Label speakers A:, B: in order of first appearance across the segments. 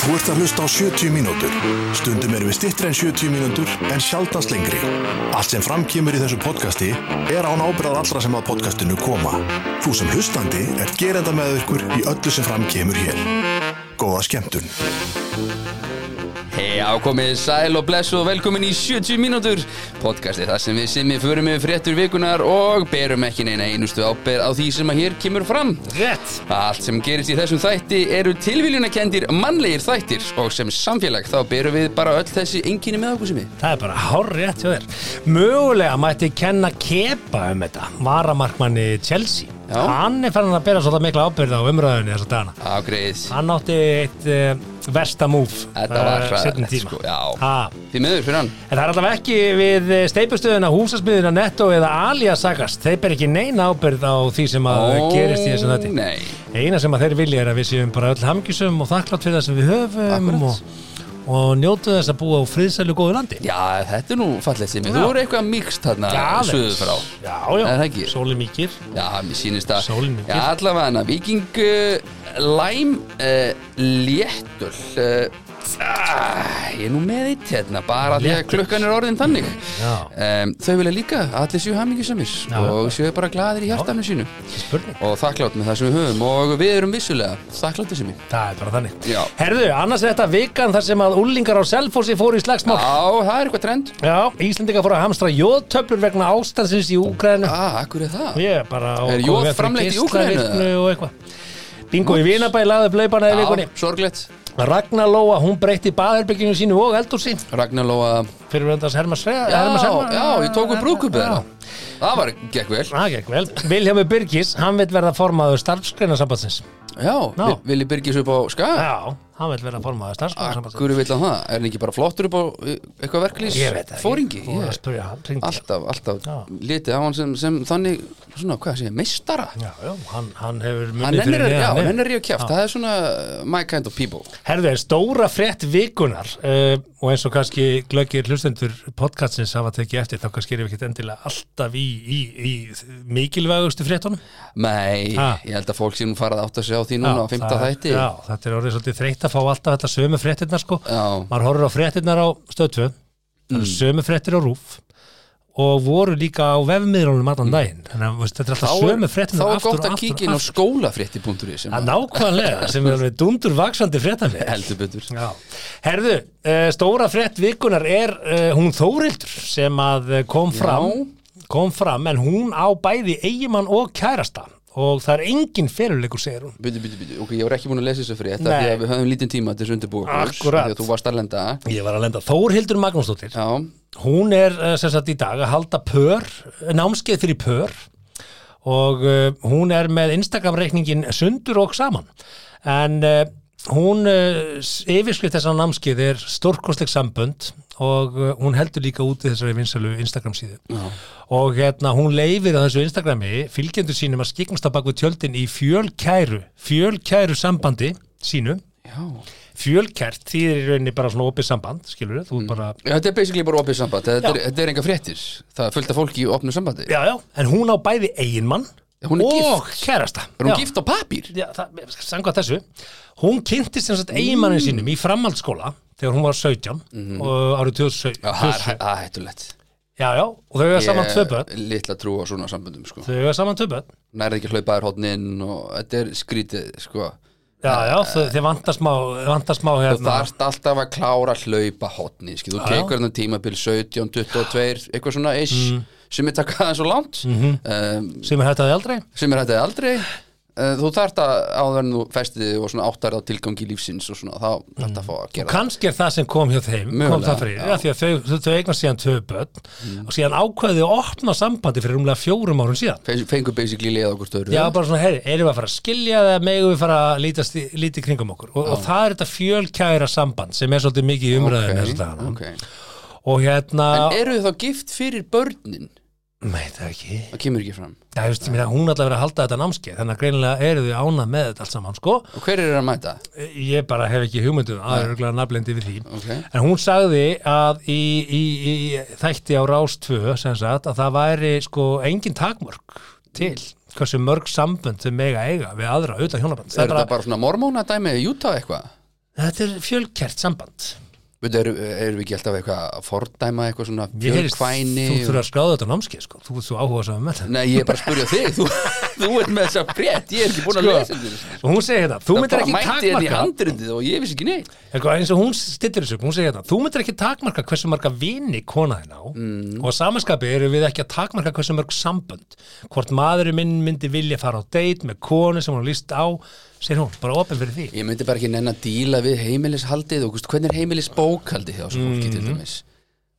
A: Þú ert að hlusta á 70 mínútur. Stundum erum við stittri en 70 mínútur en sjaldast lengri. Allt sem framkýmur í þessu podcasti er án ábyrðað allra sem að podcastinu koma. Þú sem hlustandi er gerenda með ykkur í öllu sem framkýmur hér. Góða skemmtun.
B: Hei ákomið sæl og blessu og velkomin í 70 mínútur podcastið þar sem við simmi förum með fréttur vikunar og berum ekki neina einustu ábyrð á því sem að hér kemur fram
C: Rétt
B: Allt sem gerist í þessum þætti eru tilvílunakendir mannlegir þættir og sem samfélag þá berum við bara öll þessi enginni með okkur sem við
C: Það er bara hár rétt hjá þér Mögulega mætti kenna kepa um þetta Varamarkmanni Chelsea
B: Já.
C: Hann er farin að bera svolítið mikla ábyrða á umræðunni þessa dagana
B: Ágreið,
C: Hann átti eitt uh, versta múf
B: þetta var
C: Settin
B: hræðilegt
C: tíma
B: sko, já
C: Ha.
B: Því miður fyrir hann
C: En það er allavega ekki við steipustöðuna, húsasmiðuna, netto eða alja sagast. Þeir ber ekki neina ábyrð á því sem að
B: Ó,
C: gerist í þessum þetta.
B: Nei,
C: Eina sem að þeir vilja er að við séum bara öll hamgjusum og þakklátt fyrir það sem við höfum
B: Akkurat.
C: og, og njótu þess að búa á friðsælu góðu landi.
B: já þetta er nú fallegt sem við
C: Já.
B: Þú eru eitthvað mikst þarna suður frá
C: Já,
B: Er það
C: já,
B: ekki?
C: sóli mikið
B: Já, mér sýnist að
C: Sólin mikil.
B: Já, allavega hana Viking uh, Læm uh, Léttul uh, ah, Ég er nú með eitt hérna bara því að
C: Léttul.
B: klukkan er orðin þannig
C: Já.
B: um, Þau vilja líka að allir séu hamingisamir
C: Já.
B: og séu bara glaðir í hjartanum sínu
C: Spurning,
B: og þakklátt með það sem við höfum og við erum vissulega þakklátt sem við
C: það er bara þannig
B: Já.
C: Herðu, annars er þetta vikan þar sem að úlingar á Selfossi fóru í slagsmál
B: Já, það er eitthvað trend
C: Já, Íslendinga fóru að hamstra jóðtöflur vegna ástansins í Úgrænu
B: ah, Akkur er það?
C: Ég er bara á
B: Er
C: komið
B: jóð
C: með fyrir
B: framleidd í Úkraínu,
C: geislavirkni og eitthvað Bingo í Vinabæ laði upp laupana í vikunni
B: sorglegt
C: Ragnar Lóa, hún breytti baðherbygginu sínu og eldursi
B: Ragnar Lóa
C: fyrir vöndans Hermas
B: Já,
C: Herma,
B: já, ég tók við brúkupið
C: Já.
B: þeirra Það var, gekk vel
C: Það gekk vel Viljámi Byrgis, hann vil verða formaður starfsgreinasambandsins
B: Já,
C: Já.
B: Vi- Vili Byrgis upp á Skaga
C: Já, hann vil vera formaður starfsgreinasambandsins
B: Akkur vill hann það? Er hann ekki bara flottur upp á uh, eitthvað verklýs?
C: Ég veit það
B: Fóringi?
C: Ég er að
B: Ég,
C: spyrja hann hringdi.
B: alltaf, alltaf
C: Já.
B: litið á hann sem, sem þannig, svona, hvað sé ég, meistara?
C: Já, já, hann, hann hefur
B: Hann
C: munið
B: ennir, já,
C: neðan,
B: hann
C: nei.
B: ennir ég kjáft, það er svona uh, my kind of people.
C: Herðu, stóra frétt vikunar uh, og eins og kannski glöggir hlustendur podcastins hafa tekið eftir þá kannski erum við ekkert endilega alltaf í, í, í mikilvægustu fréttunum
B: Nei,
C: Ha.
B: ég held að fólk sem farað átt að segja á því núna á
C: Já,
B: fymta
C: það er-
B: þætti.
C: Já, þetta er orðið svolítið þreytt að fá alltaf þetta sömu fréttirnar sko
B: Já.
C: maður horfir á fréttirnar á stöðtvö mm. sömu fréttir á rúf og voru líka á vefmiðlunum allan daginn þannig að veist, þetta
B: Mm.
C: er
B: Þá
C: alltaf
B: er,
C: sömu
B: þá
C: fréttirnar
B: er
C: aftur
B: gott
C: og
B: að
C: aftur
B: kíkja inn á
C: og aftur
B: skólafrétti.ri sem
C: að nákvæmlega sem er alveg dundur vaksandi fréttafrétt
B: heldur betur.
C: Já. Herðu, uh, stóra frétt vikunar er uh, hún Þórildur sem að eh, kom fram, kom fram en hún á bæði eigimann og kærasta og það er engin feruleikur segir hún.
B: Byttu, byttu, byttu, ok, ég var ekki búin að lesa þessu frétt af
C: Nei.
B: því að við höfum lítinn tíma til þessu undirbúið
C: Akkurat.
B: því að þú varst að lenda
C: Ég var að lenda Þórildur Magnúsdóttir.
B: Já,
C: Hún er eh, sem sagt í dag að halda pör, námskeið fyrir pör og uh, hún er með Instagram-reikningin sundur og saman en uh, hún uh, yfirskrift þessan námskeið er stórkostleg sambönd og uh, hún heldur líka út í þessari vinsölu Instagram síðu og hérna hún leifir á þessu Instagrami fylgjendur sínum að skiknast á bakvið tjöldin í fjölkæru, fjölkæru sambandi sínu,
B: já
C: fjölkært því er í rauninni bara svona opið samband skilur þú mm. bara
B: Já, Þetta er basically bara opið samband Þetta, er,
C: Já.
B: þetta er enga fréttir Það er fullt af fólki í opnu sambandi
C: Já, já, en hún á bæði eiginmann
B: Hún er
C: og kærasta
B: Er hún
C: Já.
B: gift á papír?
C: Já, það, samkvæmt þessu Hún kynntist sem sagt
B: Mm.
C: eiginmannin sínum í framhaldsskóla þegar hún var 17 og árið 2017
B: Mhm. Já, það er hæ- það er hættulegt
C: já, já, og þau hefða saman tvö börn
B: Lítla trú á svona sambundum sko.
C: Þau hefða saman tvö börn
B: Nærið ekki að hlaupa þér hodnin og þetta er skrítið sko.
C: Já, já, þau, þau vantar smá, vantar smá
B: Þú
C: hérna,
B: þarft alltaf að klára að hlaupa hodnin sko. Þú tekur þennan tímabil 17, 22 eitthvað svona ish
C: Mm.
B: sem er takkað aðeins og langt
C: Mhm.
B: um,
C: sem er hættaði aldrei
B: sem er hættið aldrei Uh, Þú þarft að áður en þú festið og svona áttar á tilgangi lífsins og svona þá
C: Mm.
B: þarft að fá að gera
C: Kannski er það sem kom hjá þeim kom
B: Mögulega, Mm.
C: það fyrir, já, því að þau, þau, þau eignast síðan tvö börn og síðan ákveðið að opna sambandi fyrir umlega fjórum árum síðan
B: það Fengu basically leið okkur störu
C: Já, bara svona, heyri, erum við að fara að skilja það, megum við fara að lítast í, líti kringum okkur og, og það er þetta fjölkæra samband sem er svolítið mikið í
B: Ok,
C: umræðinu okay,
B: ok.
C: og hérna
B: En eru þau þá gift fyrir börnin?
C: meit það ekki,
B: Það kemur ekki fram
C: já, veist, minna, hún er alltaf verið að halda þetta námskeið, þannig að greinilega eru þau ánað með þetta allt saman, sko,
B: Og hver er að mæta?
C: ég bara hef ekki um hugmyndum aðeins örgulega naflendi við því
B: Ok.
C: en hún sagði að í, í, í þætti á Rástvö sem sagt að það væri sko engin takmörk til hversu mörg sambönd þau mega eiga við aðra auðvitað hjónaband
B: Er þetta bara svona mormónadæmi í Utah eitthvað?
C: Þetta er fjölkert samband
B: Veitu, erum er við ekki alltaf eitthvað að fordæma eitthvað svona
C: Ég heyrist,
B: fjölkvæni
C: Þú
B: og-
C: þurfa að skráða þetta á námskeið sko. Þú ert svo áhuga saman með þetta
B: Nei, ég er bara að spurja þig, þú, þú ert með þessa frétt, ég er ekki búin að
C: Sko,
B: lesa þetta
C: Og hún segir þetta, þú
B: Það
C: myndir
B: bara
C: ekki
B: mætti henni í
C: takmarka
B: handrindið og ég vissi ekki neitt
C: Eitthvað, eins og hún stittir þessu upp, hún segir þetta þú myndir ekki takmarka hversu marga vini kona þinn á mm. og samanskapi eru við ekki að takmarka hversu mörg sambönd hvort maðurinn minn myndi vilja fara á date með konu sem hún har líst á segir hún, bara opið fyrir því
B: Ég myndi bara ekki nenn að díla við heimilishaldið og veist, hvernig er heimilisbókaldið hjá þessu fólki
C: Mm.
B: til dæmis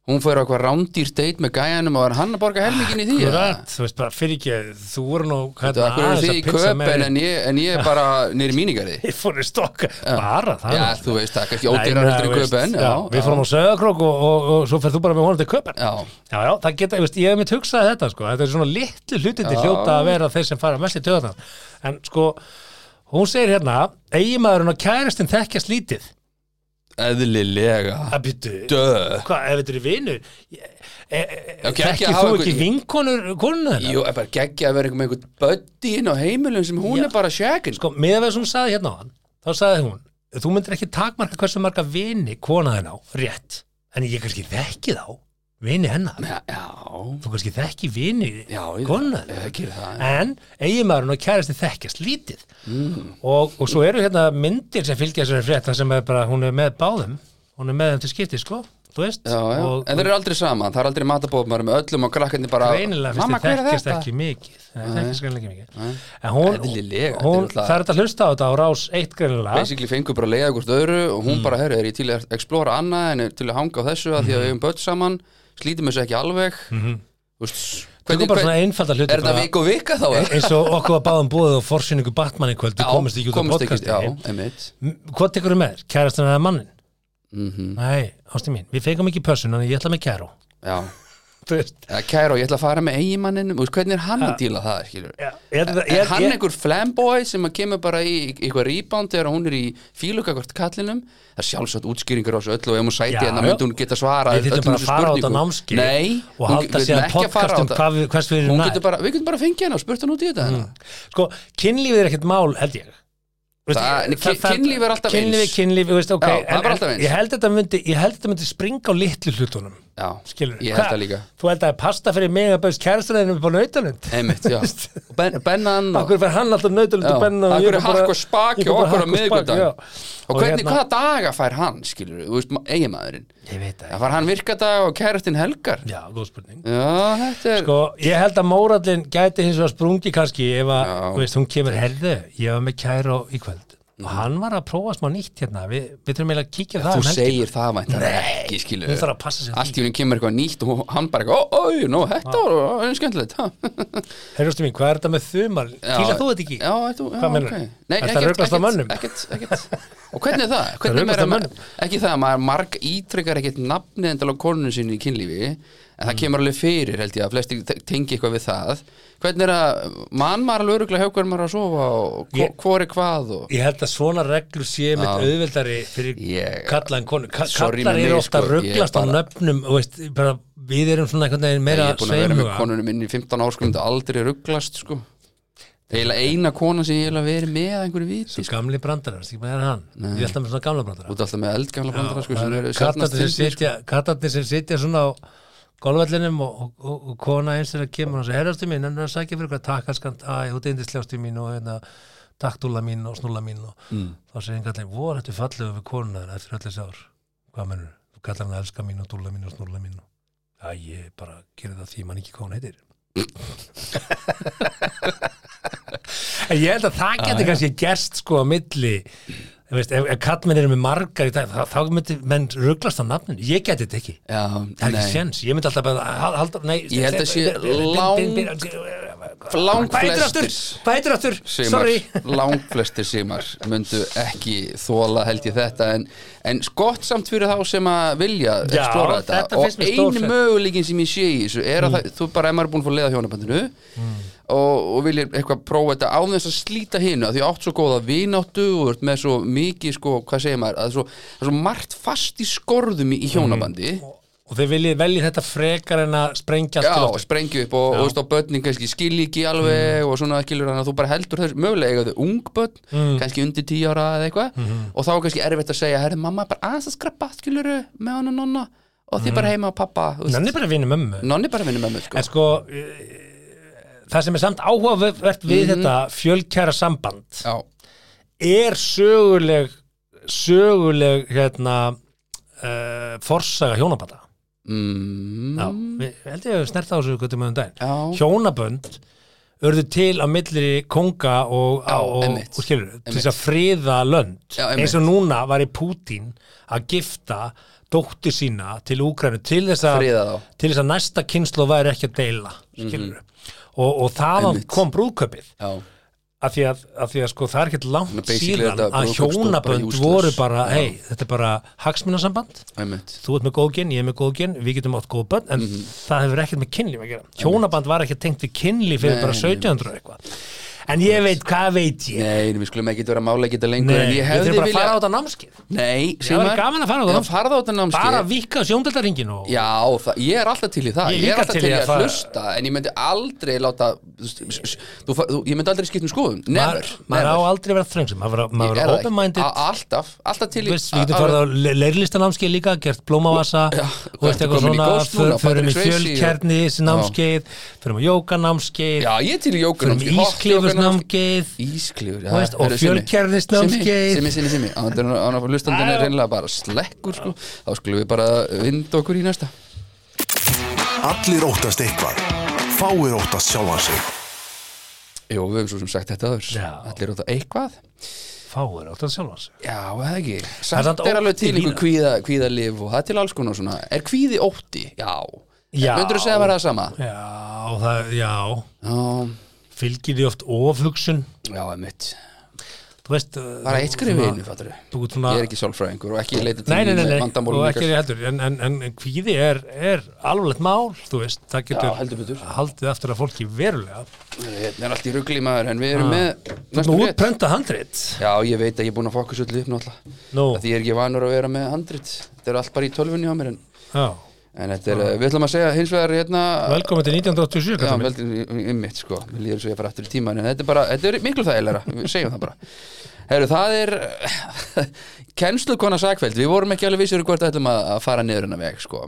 B: Hún fór á eitthvað rándýrt deit með gæjanum og var hann að borga helmingin í því eða?
C: Akkurat, þú veist bara, fyrir ekki, þú voru nú
B: Þú,
C: hérna
B: akkur eru þið í köpen en ég, en ég er bara nýri míningari
C: Ég fór í stokk, bara það
B: Já,
C: var-
B: þú veist, það er kannski
C: Nei,
B: ódýrar
C: meina,
B: heldur í
C: veist,
B: köpen
C: já, Við fórum á sögakrók og, og, og svo ferð þú bara með honum til köpen
B: Já,
C: Já, já, það geta, ég veist, ég hef mitt hugsað þetta sko, þetta er svona litlu hlutindi
B: Já.
C: hljóta að vera þeir sem fara mest í töðan en sko, hún segir hérna eigimaðurinn og kæristinn þekkjast lítið
B: eðlilega
C: að byttu,
B: Döð
C: hvað, ef þetta eru vinur e, e, e,
B: Já, ekki- ekki
C: þekkir
B: hafa
C: þú
B: einhver-
C: ekki vinkonur konuna þeirra?
B: Jú, er bara geggja að vera einhver með einhvern böddi inn á heimilum sem hún
C: Já.
B: er bara sjekin sko.
C: Sko, með að vera sem hún saði hérna á hann þá saði hún, þú myndir ekki takmarka hversu marga vini kona þinn á, rétt en ég kannski þekki þá, vini hennar
B: Já, já,
C: þú kannski þekki vini
B: ég-
C: kona þinn
B: ég gerir það
C: en eiginmaðurinn og kærasti þekkjast lítið
B: Mm.
C: og, og svo eru hérna myndir sem fylgja þessari frétta sem er bara, hún er með báðum hún er með þeim til skipti, sko þú veist,
B: Já, já,
C: og
B: en þeir eru aldrei saman, það er aldrei matabóð maður er með öllum og krakkarnir bara
C: greinilega
B: "Mamma,
C: fyrst
B: hver
C: þið
B: er
C: þekkjast
B: þetta?"
C: ekki mikið Nei, þekkjast greinilega ekki mikið en hún,
B: Eðlilega, þetta er
C: hún
B: náttúrulega-
C: það er þetta að hlusta á þetta á rás eitt greinilega
B: Basically fengur bara að leiða hvort öðru og
C: Mm.
B: hún bara, herru, er ég til að explora annað en er til að hanga á þessu að því
C: Mm-hmm.
B: að við eigum börn saman slítum þessu ekki alveg Þú veist,
C: Tökum bara svona einfalda hluti
B: Er þetta
C: bara-
B: vik og vika þá? eða?
C: eins og okkur að báðum búið á forsýningu Batman í kvöld, þú
B: Já,
C: komist ekki út á
B: komist ekki-
C: podcasti
B: Já, einmitt
C: M- hvað tekur þú með, kærastan eða mannin
B: Mhm,
C: nei, ástu mín, við fengum ekki pössun en ég ætla með kæru
B: Já,
C: þú veist
B: Eða, kæra ég ætla að fara með eiginmanninum Þú veist, Hvernig er hann að díla það, skilur
C: Já, ég, ég,
B: Er hann
C: ég,
B: einhver flamboy sem að kemur bara í í eitthvað rebound þegar hún er í fílugakvart kallinum það er sjálfsagt útskýringar á þessu öllu og ef hún sæti
C: Já,
B: hérna
C: já.
B: myndi hún geta svara
C: Við þyrftum bara að fara á þetta námskeið
B: Nei,
C: og
B: hún-
C: halda
B: við
C: síðan
B: erum ekki að fara á
C: podcast um
B: þetta.
C: hvað við- hvers við erum
B: Hún
C: nær.
B: getur bara- Við getum bara að fengja hennar og spurt hann út í þetta mm.
C: sko, kynlífið er ekkert mál held ég Þú veist,
B: Það-
C: ég-
B: kyn- kynlíf er alltaf
C: kynlífið,
B: eins.
C: kynlífið, þú veist, ok
B: Já, það er
C: en,
B: bara alltaf
C: en,
B: eins.
C: ég held þetta myndi, ég held þetta myndi springa á litlu hlutunum
B: Já,
C: skilur,
B: ég held það líka
C: þú held að það er pasta fyrir mig að bauðst kærastaninn upp á nautalund
B: Einmitt, já Og ben, Bennan og,
C: Akkur fyrir hann alltaf nautalund
B: Já,
C: og benna
B: af hverju hakk og spaki og okkur á miðvikudag
C: og, hérna-
B: og hvernig, hvaða daga fær hann, skilur Þú veist, ma- eiginmaðurinn
C: ég veit það,
B: Það fær hann virkadaga og kærastinn helgar
C: já, góð spurning
B: Já, þetta er
C: sko, ég held að mórallin gæti hins vegar sprungi kannski ef að,
B: Já.
C: þú veist, hún kemur herðu ég var með kæru í kvöld og hann var að prófa smá nýtt hérna við, við þurfum eiginlega að kíkja á það
B: Mm. Þú
C: um helgina.
B: segir það væntanlega ekki, skilur
C: hún þarf að passa sér
B: allt í hún kemur eitthvað nýtt og hann bara eitthvað, ó, ó, nó, þetta var einu skemmtilegt ha."
C: Herrustu mín, hvað er þetta með þumal?
B: Já.
C: Tíla þú þetta ekki?
B: Já, þetta, já,
C: Hvað
B: ok.
C: meinarðu?
B: Nei,
C: Ertu að
B: ekkert,
C: ruglast á
B: ekkert,
C: mönnum?
B: ekkert, ekkert. Og hvernig er það? Hvernig
C: ruglast
B: er
C: á
B: maður-
C: mönnum?
B: Ekki það, að maður marg ítrykkar ekkert nafnið endal á konunum sinni í kynlífi en
C: Mm.
B: það kemur alveg fyrir, held ég, að flesti te- tengi eitthvað við það Hvernig er að mann maður alveg öruglega hjá hvernig maður er að sofa og
C: Ég-
B: hvað er hvað og
C: Ég held að svona reglur sé mitt auðveldari fyrir
B: Ég-
C: kalla en konu. Ka
B: Sorry
C: kallar
B: með
C: eru
B: mig,
C: ofta
B: sko, ég
C: rugglast á
B: bara-
C: nöfnum, og veist, bara, við erum svona einhvern
B: Ég
C: veginn meira
B: er búin að vera með
C: sveimhuga.
B: konunum inn í 15 ár sko, myndi aldrei rugglast sko. eiginlega eina kona sem ég eiginlega verið með að einhverju viti
C: Svo gamli brandar, veist ekki hvað er hann? Ég held að með svona gamla brandar.
B: út alltaf með eldgamla brandara sko, sem eru sjaldnast
C: Kattarnir sem,
B: til sko.
C: sitja- kallarnir sem sitja svona á golfallinum og, og, og, og kona eins þeirra kemur og segir, herrastu mín, en það sækja fyrir hvað takkarskant, æ, hún deyndisljástur mín og hérna, taktúla mín og snúla mín og
B: Mm.
C: þá segir hann kallin, voru þetta fallegu við konuna þeirra eftir öll þessi ár hvað mennur, þú kallar hann elska mín og dúlla mín og snúlla mín og já, ég bara gerir það því mann ekki hvað hún heitir En Ég held að það geti kannski gerst sko á milli þú veist, ef, ef kallmenn eru með margar í dag þá, þá myndi menn rugglast á nafnin ég geti þetta ekki,
B: Já,
C: það er ekki
B: nei.
C: séns ég myndi alltaf bara hal- halda, nei,
B: Ég held að sé
C: lang
B: langflestir
C: hvað heitir aftur,
B: Sigmar,
C: sorry
B: langflestir Sigmar myndu ekki þóla held ég þetta en, en skott samt fyrir þá sem að vilja
C: Já,
B: explora þetta,
C: þetta finnst mér Mm.
B: og eini
C: stórfrétt.
B: möguleikin sem ég sé í þessu er að það, þú bara ef maður er búin að fá leiða hjónabandinu
C: Mm.
B: og, og vilja eitthvað prófa þetta á þess að slíta hinu að því átt svo góða vináttu og ert með svo
C: Mm.
B: mikið sko, hvað segir maður, að svo, það er svo margt fast í skorðum í, í hjónabandi
C: og þið viljið velja þetta frekar en að sprengja allt
B: Já,
C: til
B: og
C: ofta
B: sprengju upp og, og, veist, og börnin kannski skilji ekki alveg
C: Mhm.
B: og svona skilur þannig að þú bara heldur þess mögulega eiga þau ung börn,
C: Mhm.
B: kannski undir tíu ára eða eitthvað og þá er kannski erfitt að segja herri mamma er bara aðeins að skrappa skiluru með hann og nonna og þið
C: Mhm.
B: bara heima og pappa þú veist.
C: Nanni bara vinni mömmu
B: nonni bara vinnur með mig sko.
C: En sko eh, það sem er samt áhugavert
B: Mhm.
C: við þetta fjölkjæra samband
B: Já,
C: er söguleg söguleg hérna uh, forsaga hjónabanda
B: mm,
C: Já, við, held ég að við snert á þessu guttum öðum daginn
B: já.
C: Hjónabönd urðu til á milli konga og,
B: Já,
C: og,
B: einmitt.
C: og skilur, til þess að friða lönd
B: Já, einmitt.
C: eins og núna var í Pútín að gifta dóttir sína til Úkrænu til þess að
B: Friða þá. Mhm.
C: til þess að næsta kynslu væri ekki að deila skilur og, og þaðan
B: Einmitt.
C: kom brúðköpið
B: já,
C: af því að, af því að sko, það er ekkert
B: Þannig
C: langt
B: basically er
C: síðan
B: þetta
C: að
B: brúðkaupsdótt bara
C: hjónabönd
B: useless.
C: voru bara, hei, þetta er bara hagsmunasamband
B: einmitt
C: þú ert með góð gen, ég er með góð gen, við getum átt góð bönn en
B: Mhm.
C: það hefur ekkert með kynlíf að gera hjónaband var ekkert tengt við kynlíf fyrir
B: Nei,
C: bara
B: nei,
C: 1700 og eitthvað en ég veit, hvað veit ég
B: Nei, við skulum ekki vera mála ekki þetta lengur
C: Nei,
B: en ég
C: við
B: hefði
C: þurfum bara að
B: vilja
C: fara á þetta námskið
B: Nei,
C: Já, það er gaman að fara á þetta
B: Já,
C: námskeið.
B: farðu á þetta námskeið
C: bara vika sjóndeldaringin og
B: Já, það, ég er alltaf til í það
C: Ég
B: Ég,
C: líka
B: er alltaf til í að,
C: fara-
B: hlusta En ég myndi aldrei láta þú, veist, s- s- þú, fa- þú, Ég myndi aldrei skipta um skoðum Never,
C: maður, maður á
B: never
C: aldrei að vera þröngsum maður á- maður
B: Ég er
C: er
B: það ekki.
C: open-minded
B: A- Alltaf, alltaf til í
C: Veist, við getum farið á le- leirlistanámskeið líka, gert blómavasa
B: Já,
C: og veist
B: ertu
C: eitthvað
B: komin í
C: svona,
B: ghost núna,
C: för- förum í
B: Patrick Swayze og-
C: fjölkernisnámskeið förum á jókanámskeið
B: Já, ég er til í jókunum
C: förum í ísklifursnámskeið
B: Ísklifur
C: um Þú veist, og fjölkernisnámskeið.
B: Simmi, Simmi, Simmi, Simmi Þannig að hlustandinn er reynilega bara slekkur sko. Þá skulum við bara vinda okkur í næsta
A: Allir óttast eitthvað. Fáir óttast sjálfan sig.
B: Jó, við höfum svo sem sagt þetta aður
C: Já.
B: Allir á það eitthvað
C: fáður átt að sjálfa sig
B: Já, eða ekki
C: er
B: Samt
C: samt
B: er alveg
C: ótti
B: til einhver
C: líka.
B: kvíða, kvíðalif og það er til alls konar svona Er kvíði ótti? Já
C: Já.
B: Möndur þú segja að vera það sama?
C: Já, það, já,
B: Já,
C: fylgir því oft ofhugsun
B: já, emitt
C: Þú veist uh,
B: Bara eitt skrif í
C: svona-
B: einu, fattur
C: Þú ert svona
B: Ég er ekki sálfræðingur og ekki leita til
C: Nei, nei, nei, nei,
B: vandamálum sko.
C: og
B: ykkar.
C: ekki því heldur en, en, en kvíði er, er alvarlegt mál þú veist, það
B: Já, heldur
C: getur
B: betur.
C: haldið aftur að fólki verulega
B: Þetta er allt í ruggli maður en við
C: Ah.
B: erum með
C: Nú
B: næstu
C: er
B: rétt
C: prenta handrit
B: Já, ég veit að ég er búin að fokka svolítið upp náttúrulega
C: Nú,
B: Því ég er ekki vanur að vera með handrit Þetta er allt bara í tölvunni á mér en,
C: já,
B: en þetta
C: Ah.
B: er, við ætlum að segja hins vegar hérna
C: velkomin til 1987
B: Já,
C: kallar minn.
B: veldin ymmit sko Mér líður svo ég bara aftur í tíman En þetta er bara, þetta er miklu þægilega Við segjum það bara Herru, það er Kennslukona Sakfeld Við vorum ekki alveg vissir um hvort ætlum að að fara niður hennar veg sko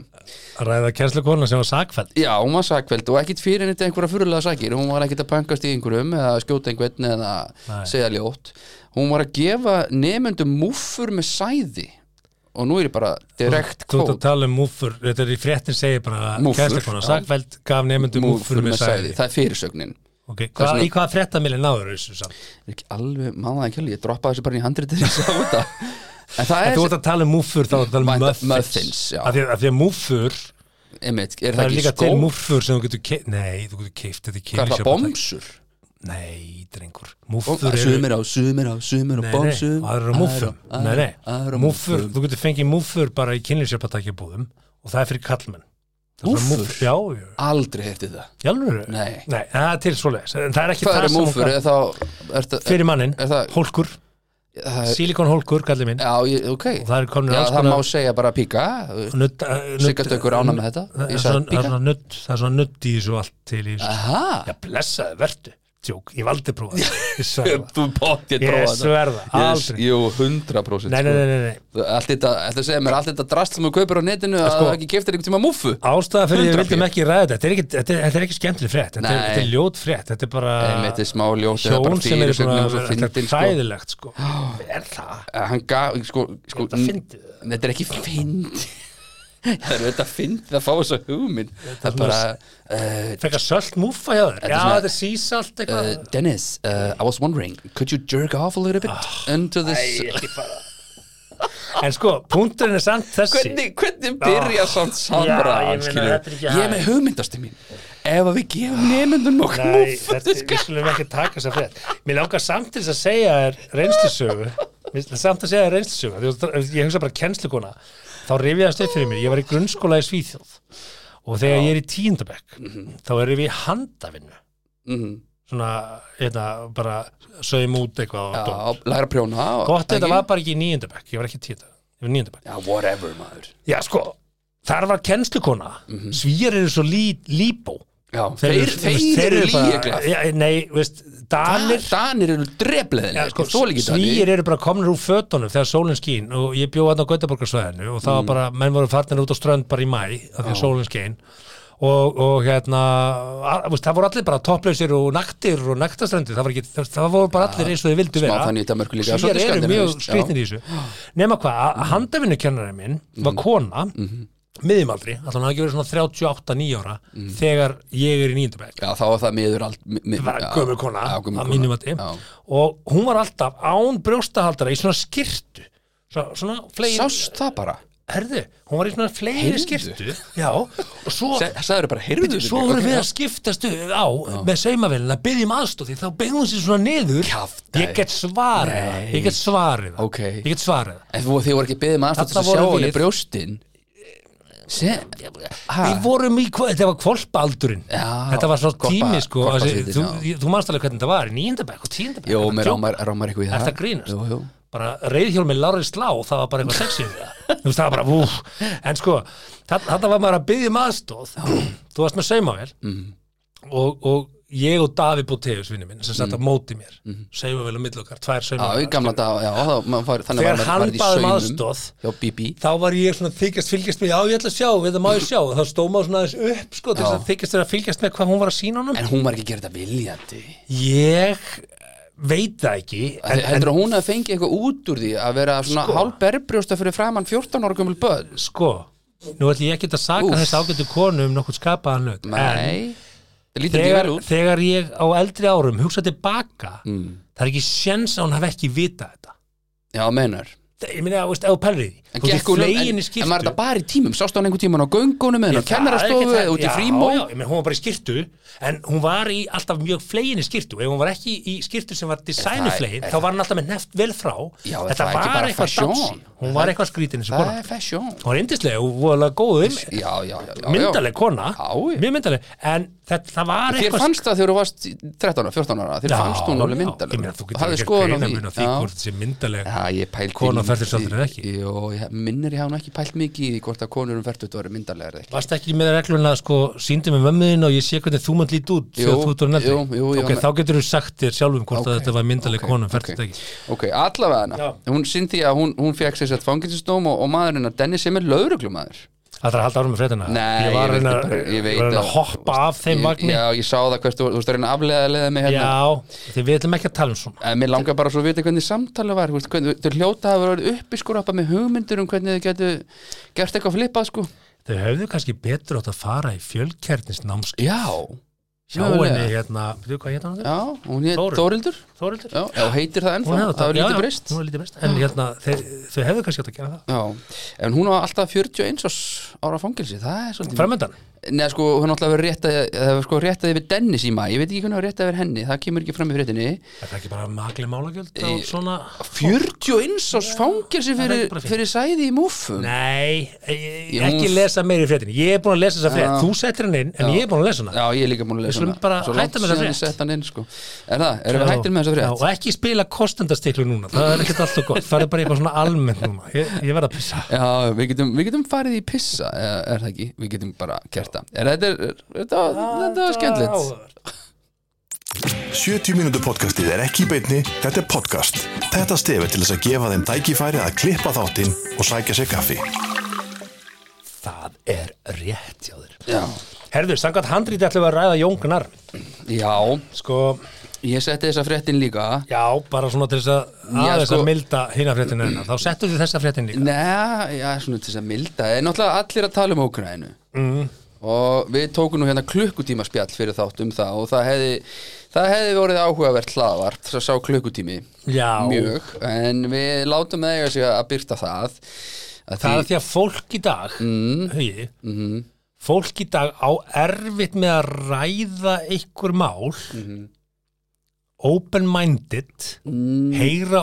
C: að ræða kjænslu kona sem var sakfæld
B: Já, hún var Sakfeld og ekkit fyrir henni til einhverja fyrirlega sakir Hún var ekkit að pankast í einhverjum Eða skjóta einhvern eða
C: Nei.
B: segja ljótt Hún var að gefa nefnendum múffur með sæði Og nú er ég bara direkt
C: Þú ert að
B: kvót
C: tala um múfur, þetta er í fréttin segir bara
B: Múffur,
C: kjænslu kona
B: já.
C: sakfæld gaf nefndum múfur um með sæði
B: Það er fyrirsögnin
C: Ok,
B: Það er
C: hvað,
B: svona-
C: í hvaða fréttamili náður þessu samt?
B: Ég er ekki alveg maður ekki alveg, ég droppaði þessu bara í handritið þegar ég sá þetta en það
C: En
B: er,
C: þú ert að tala um múfur, þá ert að tala um
B: Vænta-
C: muffins.
B: muffins, já.
C: Af því að, af því að múfur, það,
B: einmitt, er það,
C: er
B: ekki
C: líka
B: skó
C: til múfur sem þú getur keift, nei, þú getur keift, þetta er
B: hvað er
C: keilisjópa.
B: það, bomsur
C: Nei, drengur.
B: Bom-
C: Múfur eru...
B: sumir á, sumir á, sumir á,
C: Nei, nei,
B: bomsum
C: það eru á múfum.
B: aðra-
C: Nei,
B: aðra
C: nei, múfur, þú getur fengið múfur bara í kynlisjöpatakjabúðum og það er fyrir kallmenn. Það er svona
B: Múffur?
C: múffur, Já, já,
B: aldrei hefði það
C: já, alveg.
B: Nei.
C: Nei, það er til svoleiðis, en það er ekki
B: hvað Eh,
C: það
B: er
C: sem hún
B: múfur,
C: kallar-
B: eða þá er það,
C: Fyrir mannin,
B: er það-
C: hólkur,
B: það er,
C: silikonhólkur, kallið minn.
B: já, ég, ok
C: Og það er komin
B: eh, já, það má segja bara píka
C: Nutt,
B: sigardaukur ána með þetta
C: það
B: ég
C: er
B: sagði
C: svona- það er
B: píka
C: svona nudd það er svona nudd í þessu og allt til í þessu
B: aha,
C: já blessaði vertu tjók, ég valdi prófa það ég sverða
B: þú bótt ég
C: Ég
B: prófa
C: sverða, aldrei.
B: jú, 100%
C: nei, nei,
B: sko.
C: nei, nei, nei.
B: Allt þetta, þetta segir mér, allt þetta drast sem þú kaupir á netinu að
C: sko-
B: það ekki keftir einhvern tíma múfu
C: ástæða fyrir því
B: 100
C: að við vildum ekki ræða þetta þetta er ekki, þetta er, þetta er ekki skemmtileg frétt þetta er,
B: Nei.
C: þetta er ljót frétt þetta er bara
B: Nei, þetta er smá ljótt, þetta er bara
C: hjón Ah, sem er
B: fyrirsögnin
C: bara
B: og svo
C: þetta
B: fyndin,
C: er
B: sko.
C: hræðilegt sko er það?
B: Hann gaf, sko, sko
C: Þetta fyndið það.
B: Þetta er ekki fynd Það er þetta fynd að fá þessa hugminn Það er
C: svona-
B: bara uh,
C: fekka sölt múfa hjá þér
B: Þetta er
C: já,
B: svona-
C: þetta er sísalt eitthvað
B: uh, Dennis, uh, I was wondering Could you jerk off a little bit
C: Ah.
B: into this
C: Æ, ekki bara en sko, punkturinn er samt þessi
B: Hvernig, hvernig byrja samt samræðan,
C: Ah. Já, ég meina,
B: skilur?
C: þetta er ekki
B: Ég er
C: hægt.
B: með hugmyndastu mín Ef að við gefum nefnundum okkur
C: Nei,
B: múfu
C: þetta, við skulum ekki taka þess að fyrir Mér langar samt til þess að segja þér reynslisögu Mér langar samt að segja þér reynslisögu Því að Ég hugsa bara kennslukona Þá rifjaðast upp fyrir mér, ég var í grunnskóla í Svíþjóð Og þegar ég er í tíundabekk Þá erum við í handavinnu
B: Mhm.
C: Svona, hérna, bara Sögum út eitthvað og dó
B: Já, læra að prjóna
C: Gott,
B: ekki?
C: þetta var bara ekki í níundabekk, ég var ekki í tíundabekk Ég var níundabekk
B: Já, whatever, maður
C: Já, sko, þar var kennslukona mm eru svo lí, líbó
B: Já, Mhm. þeir, þeir, eru líka
C: ja, Nei, veist, danir
B: Danir eru drefleðin
C: Ja, sko,
B: Svo líka
C: svíir eru bara komnir úr fötunum þegar sólinn skín og ég bjóð hann á Gautaborgarsvæðinu og
B: Mm.
C: það var bara, menn voru farnir út á strönd bara í mæ af því að sólinn skín og, og hérna, að, veist, það voru allir bara topplausir og naktir og naktastrendir það, var ekki, það, það voru bara allir eins og þið vildu
B: smá
C: vera
B: þannig í Danmörku líka,
C: svíir
B: svolítið
C: eru
B: skandinavískt,
C: mjög skrýtnir í þessu nema hvað, mm. handavinnukennarinn minn var kona mm
B: Mm-hmm.
C: -hmm. miðjumaldri, alltaf hann hafði ekki verið svona 38-9 ára
B: Mm.
C: þegar ég er í nýjundabæk
B: Já, þá var það miður allt mi- mi-
C: var
B: já,
C: gömul kona
B: já, gömul
C: að
B: kona.
C: mínum mati
B: Já.
C: og hún var alltaf án brjóstahaldara í svona skirtu svona, svona flegin
B: Sást það bara
C: herðu, hún var í svona flegin
B: Heyrðu?
C: skirtu já, og svo
B: Sæður bara, heyrðu
C: Bíddu, svo vorum við að skiptast au- á með saumavélina, byggjum aðstóð um því þá beigðum hún sér svona niður
B: Kjaftæði.
C: ég get svarið, það, ég get svarið það,
B: Ok.
C: ég get svarið það.
B: En þú- þið voru ekki beðið með aftur til
C: Þarna
B: að sjá
C: vorum
B: henni
C: við.
B: brjóstin Se, ha,
C: Við vorum í, hva- þetta var kvolpaaldurinn
B: Já,
C: Þetta var svona
B: hvolpa-
C: tími sko
B: hvolpasvitin,
C: þessi- Þú,
B: já.
C: þú manst alveg hvernig þetta var í nýjendabæk og tíundabæk
B: Jó, mér rámar, rámar eitthvað í það
C: Ertu að grínast?
B: Jú, jú
C: bara reyðhjól með Lárið Slá það var bara eitthvað sexy við það Þú veist, það var bara, úf, en sko þetta var maður að byggja um aðstóð þú varst með saumavél
B: Mhm.
C: og, og ég og Davi Bóteus vinnu minn sem satt á móti mér saumavél á milli okkar,
B: Mhm.
C: tvær
B: Já, í
C: saumavél
B: gamla dag, já, þá, maður fari, þannig
C: Þegar
B: var
C: hann
B: maður- maður í
C: bað um
B: saumum
C: aðstoð.
B: Já, BB
C: þá var ég svona að þykjast fylgjast með já ég ætla að sjá, við það má ég sjá og þá stóð maður svona aðeins upp sko til þess að þykjast þeirra fylgjast með hvað hún var að sína honum
B: En hún var ekki að gera þetta viljandi
C: ég eh, veit það ekki en,
B: Þetta er að hún að fengi eitthvað út úr því að vera svona sko. hálberbrjósta fyrir framann 14 ára gömul börn
C: sko, nú ætlum ég ekki að saka
B: Úff.
C: þess ágættu konu um nokkuð skapaðan hlut en
B: Nei, það lítur ekki
C: þegar,
B: vel út
C: þegar ég á eldri árum hugsa tilbaka mm. það er ekki sjens að hún hafi ekki vita þetta
B: Já, meinar
C: Það- ég meina, veist, ef þú pælir í því þú
B: en,
C: ert í
B: um-
C: flegin
B: en
C: í skirtu
B: maður þetta bara í tímum Sástu hann einhver tíman á göngunum eða
C: Ég, það er ekki
B: kennarastofu
C: það-
B: eða út í
C: já,
B: frímó
C: já, ég meina, hún var bara í skirtu en hún var í alltaf mjög flegin í skirtu ef hún var ekki í skirtu sem var
B: það-
C: designuflegin
B: er
C: þá var hún alltaf með neft vel frá
B: Já, er
C: þetta
B: það ekki
C: var
B: bara
C: eitthvað
B: fashion?
C: dansi hún var eitthvað skrítin þessi
B: Það
C: kona
B: er fashion
C: hún var yndislega og voðalega góð um
B: Já, já, já, já
C: myndaleg kona,
B: Já, já.
C: mjög myndaleg en þetta, það var
B: Þér
C: eitthvað
B: fannst það þegar þú varst 13 ára, 14 ára Þér fannst hún alveg myndaleg
C: ég meina, þú
B: Hafðir
C: getur ekki
B: skoðun á
C: greina mun á því
B: Já.
C: hvort þessi myndaleg
B: Já, ég pælt
C: Kona á fertugsaldri eða ekki?
B: Jó, ég minnir ég hafa nú ekki pælt mikið í því hvort að konur um fertugt var myndarlegar eða ekki
C: varst ekki með reglun að sko síndi með mömmuðin og ég sé hvernig þú mátt lít út
B: Jú,
C: þegar þú ert orðin eldri
B: jú, jú, já,
C: ok,
B: men-
C: þá getur þú sagt þér sjálfum hvort
B: Ok,
C: að þetta var myndaleg
B: ok,
C: konum
B: ok.
C: ferðist ekki
B: Ok, allavega hana
C: Já.
B: Hún syndi að hún, hún fekk sér satt fangilsistóm og, og maðurinn hennar Dennis sem er lögreglumæður
C: Það er að halda árum með fréttina
B: Nei,
C: ég var
B: ég veit
C: að reyna-
B: það bara, ég
C: ég
B: veit
C: var að reyna
B: að-
C: að hoppa af þeim
B: ég,
C: vagnir
B: Já, ég sá það hvert þú, þú veist að reyna að aflega að leiða mig hérna
C: Já, því við ætlum ekki að tala um svona
B: En mér langar bara svo að vita hvernig samtali var þú veist, hvernig, Þau hljóta hafa verið uppi sko rappa með hugmyndur um hvernig þau getu gert eitthvað flipað sko
C: Þau höfðu kannski betur átt að fara í fjölkernisnámski
B: Já,
C: Hjá henni hérna, veitu hvað hérna
B: já hún heit
C: Þórunn.
B: Þórildur
C: Þórildur
B: Já, já heitir það ennþá, það er lítið breyst
C: Hún hefði lítið breyst En hérna, þeir- þau hefðu kannski átt að gera það
B: Já, en hún var alltaf 41 árs- ára fangilsi, það er svolítið
C: Framöndan
B: Nei, sko, hún alltaf verið réttað það var sko réttað yfir Dennis í maður, ég veit ekki hvernig það var réttað yfir henni, það kemur ekki fram í fréttinni
C: Er það ekki bara magli málagjöld og
B: Í-
C: svona
B: 41 árs fangilsi
C: það er
B: fyrir,
C: bara fínt.
B: fyrir sæði í múfum
C: Nei, ég-
B: Jú.
C: ekki lesa meir í fréttin Ég er búin að lesa þessa frétt,
B: Já.
C: þú settir hann inn En ég er búin að lesa hana
B: Já, ég er líka múin að lesa
C: skulum bara
B: Svo langt
C: hætta með það
B: síðan ég
C: frétt.
B: sett hann inn, sko Er það, erum við
C: Já.
B: hættir með þessa
C: Já,
B: frétt?
C: Og ekki spila kostendastiklu núna Það er ekkert alltaf gott, það er bara eitthvað svona almennt núna Ég, ég verð að pissa
B: Já, við getum, við getum farið í pissa, er, er það ekki? Við getum bara gert það Er þetta, er, þetta, þetta var skemmtilegt
A: 70 mínútur podcastið er ekki í beinni, þetta er podcast. Þetta stefið til þess að gefa þeim tækifæri að klippa þáttinn og sækja sér kaffi.
C: Það er rétt hjá þér
B: Já,
C: Herður, samkvæmt handrítið ætlum við að ræða jóngnar
B: já,
C: Sko,
B: ég setti þessa fréttin líka
C: já, bara svona til þess að
B: Já,
C: aðeins
B: sko-
C: að milda hina fréttin enna Þá settur þið þessa fréttin líka
B: Nei, já, svona til þess að milda Það er náttúrulega allir að tala um Ókrænu mm. Og við tókum nú hérna klukkutíma spjall fyrir þátt um það Og það hefði, það hefði vorið áhugavert hlaðvart Svo sá klukkutími
C: Já,
B: mjög En við látum það eiga sig að byrta það að
C: Það er
B: því, Mm-hmm.
C: því að fólk í dag mm. Hugi, Fólk í dag á erfitt með að ræða einhver mál
B: Mm-hmm.
C: open-minded heyra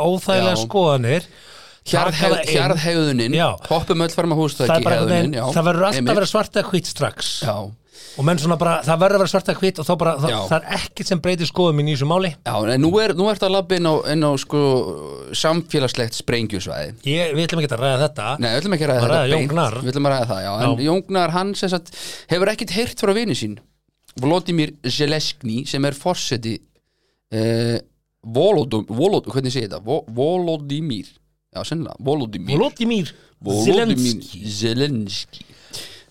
B: Mm.
C: óþægilega
B: Já.
C: skoðanir taka
B: hjarðhegð-
C: það inn.
B: hjarðhegðunin
C: Já.
B: Hoppum öll fram að
C: það,
B: hústæki
C: er bara einhvern
B: hegðunin
C: veginn-
B: já,
C: það verður alltaf að
B: einmitt.
C: vera svart eða hvitt strax
B: Já,
C: og menn svona bara, það verður að vera svarta hvitt og þá bara, það,
B: Já.
C: það er ekkert sem breytir skoðum mín í þessu máli
B: Já, en nú, er, nú ertu að labba inn á, inn á sko, samfélagslegt sprengjusvæði
C: ég, við ætlum ekki að ræða þetta
B: Nei, við ætlum ekki að ræða
C: Að ræða
B: þetta
C: Jón Gnar.
B: Við ætlum að ræða það, já, en
C: Já.
B: Jóngnar hann sem sagt, hefur ekkit heyrt frá vini sín Vladimir Zeleskni sem er forseti eh, Volodum, Volod, hvernig segir þetta? Vo- Volodymyr Já, sennilega, Volodymyr
C: Volodymyr
B: Volodymyr
C: Zelensky
B: Zelenski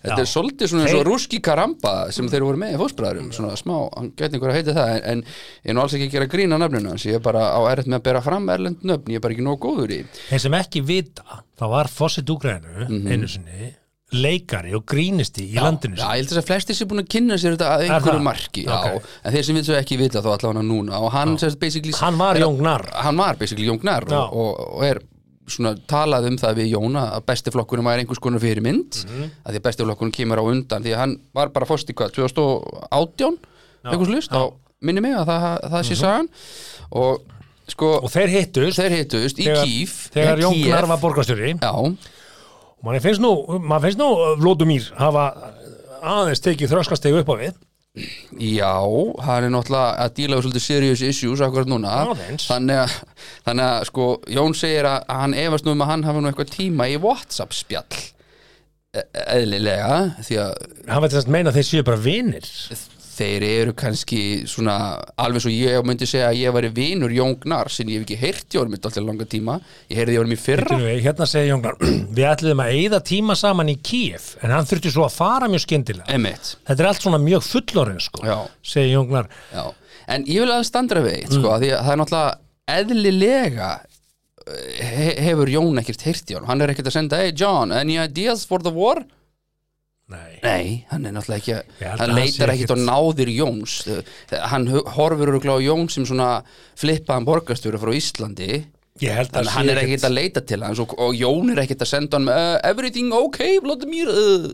B: Þetta
C: Já.
B: er svolítið svona eins og
C: Þeir-
B: rúski karamba sem þeir voru með í fósbræðurum, svona smá, hann gæti einhver að heita það en, en ég er nú alls ekki að gera grína nöfninu hans, ég er bara á erfitt með að bera fram erlend nöfn, ég er bara ekki nóg góður í
C: þeir sem ekki vita, það var fósitt úgrænu einu sinni leikari og grínisti í landinu
B: Mhm. Já,
C: sínu.
B: ég held þess að flestir sé búin að kynna sér þetta að
C: það?
B: einhverju marki já,
C: Ok.
B: En þeir sem við svo ekki vita þá allavega núna Og hann sérst basically
C: hann var
B: er-
C: jóngnar
B: Hann var basically Jóngnar
C: Já.
B: og, og, og er svona talað um það við Jóna að besti flokkurinn var einhvers konar fyrirmynd mm
C: Mhm.
B: að því að besti flokkurinn kemur á undan því að hann var bara fórst í hvað, 2018 einhvers list, þá minni mig að það, það sé sagan og sko,
C: Mhm. og þeir hittust
B: þeir hittust í
C: þegar,
B: Kíf
C: þegar
B: í
C: Jón
B: Kíev.
C: Gnar var borgarstjóri
B: Já,
C: og mann finnst nú, mann finnst nú Vlodumír hafa uh, aðeins tekið þröskasteg upp á við
B: Já, hann er náttúrulega að díla við svolítið serious issues akkurat núna
C: Aðeins.
B: þannig að, þannig að sko Jón segir að að hann efast nú um að hann hafi nú eitthvað tíma í Whatsapp spjall E- eðlilega því að
C: hann veit þess að meina að þeir séu bara vinir
B: þeir eru kannski svona alveg svo ég myndi segja að ég væri vinur Jón Gnar sem ég hef ekki heyrt í honum í alltaf langa tíma ég heyrði í honum í fyrra
C: Býtum við, hérna segir Jónglar við ætluðum að eyða tíma saman í Kíf en hann þurfti svo að fara mjög skyndilega
B: emitt
C: þetta er allt svona mjög fullorinn sko
B: Já.
C: segir Jónglar
B: Já, en ég vil aðeins standra við eitt, sko,
C: Mm.
B: að því að það er náttúrulega eðlilega eh, he hefur Jón ekkert heyrt í honum hann er ekkert að senda, hey John, any ideas for the war?
C: nei,
B: Nei, hann er náttúrulega ekki
C: Ég held
B: að,
C: að
B: hann
C: hann sé
B: leitar ekkert á
C: ekkert-
B: náðir Jóns Eh, hann hu- horfur örugglega á Jón sem svona flippaðan borgarstjóri frá Íslandi
C: ég held
B: Þannig
C: að
B: að hann
C: sé
B: er ekkert að leita til hans og, og Jón er ekkert að senda hann uh, everything okay, Vladimir uh,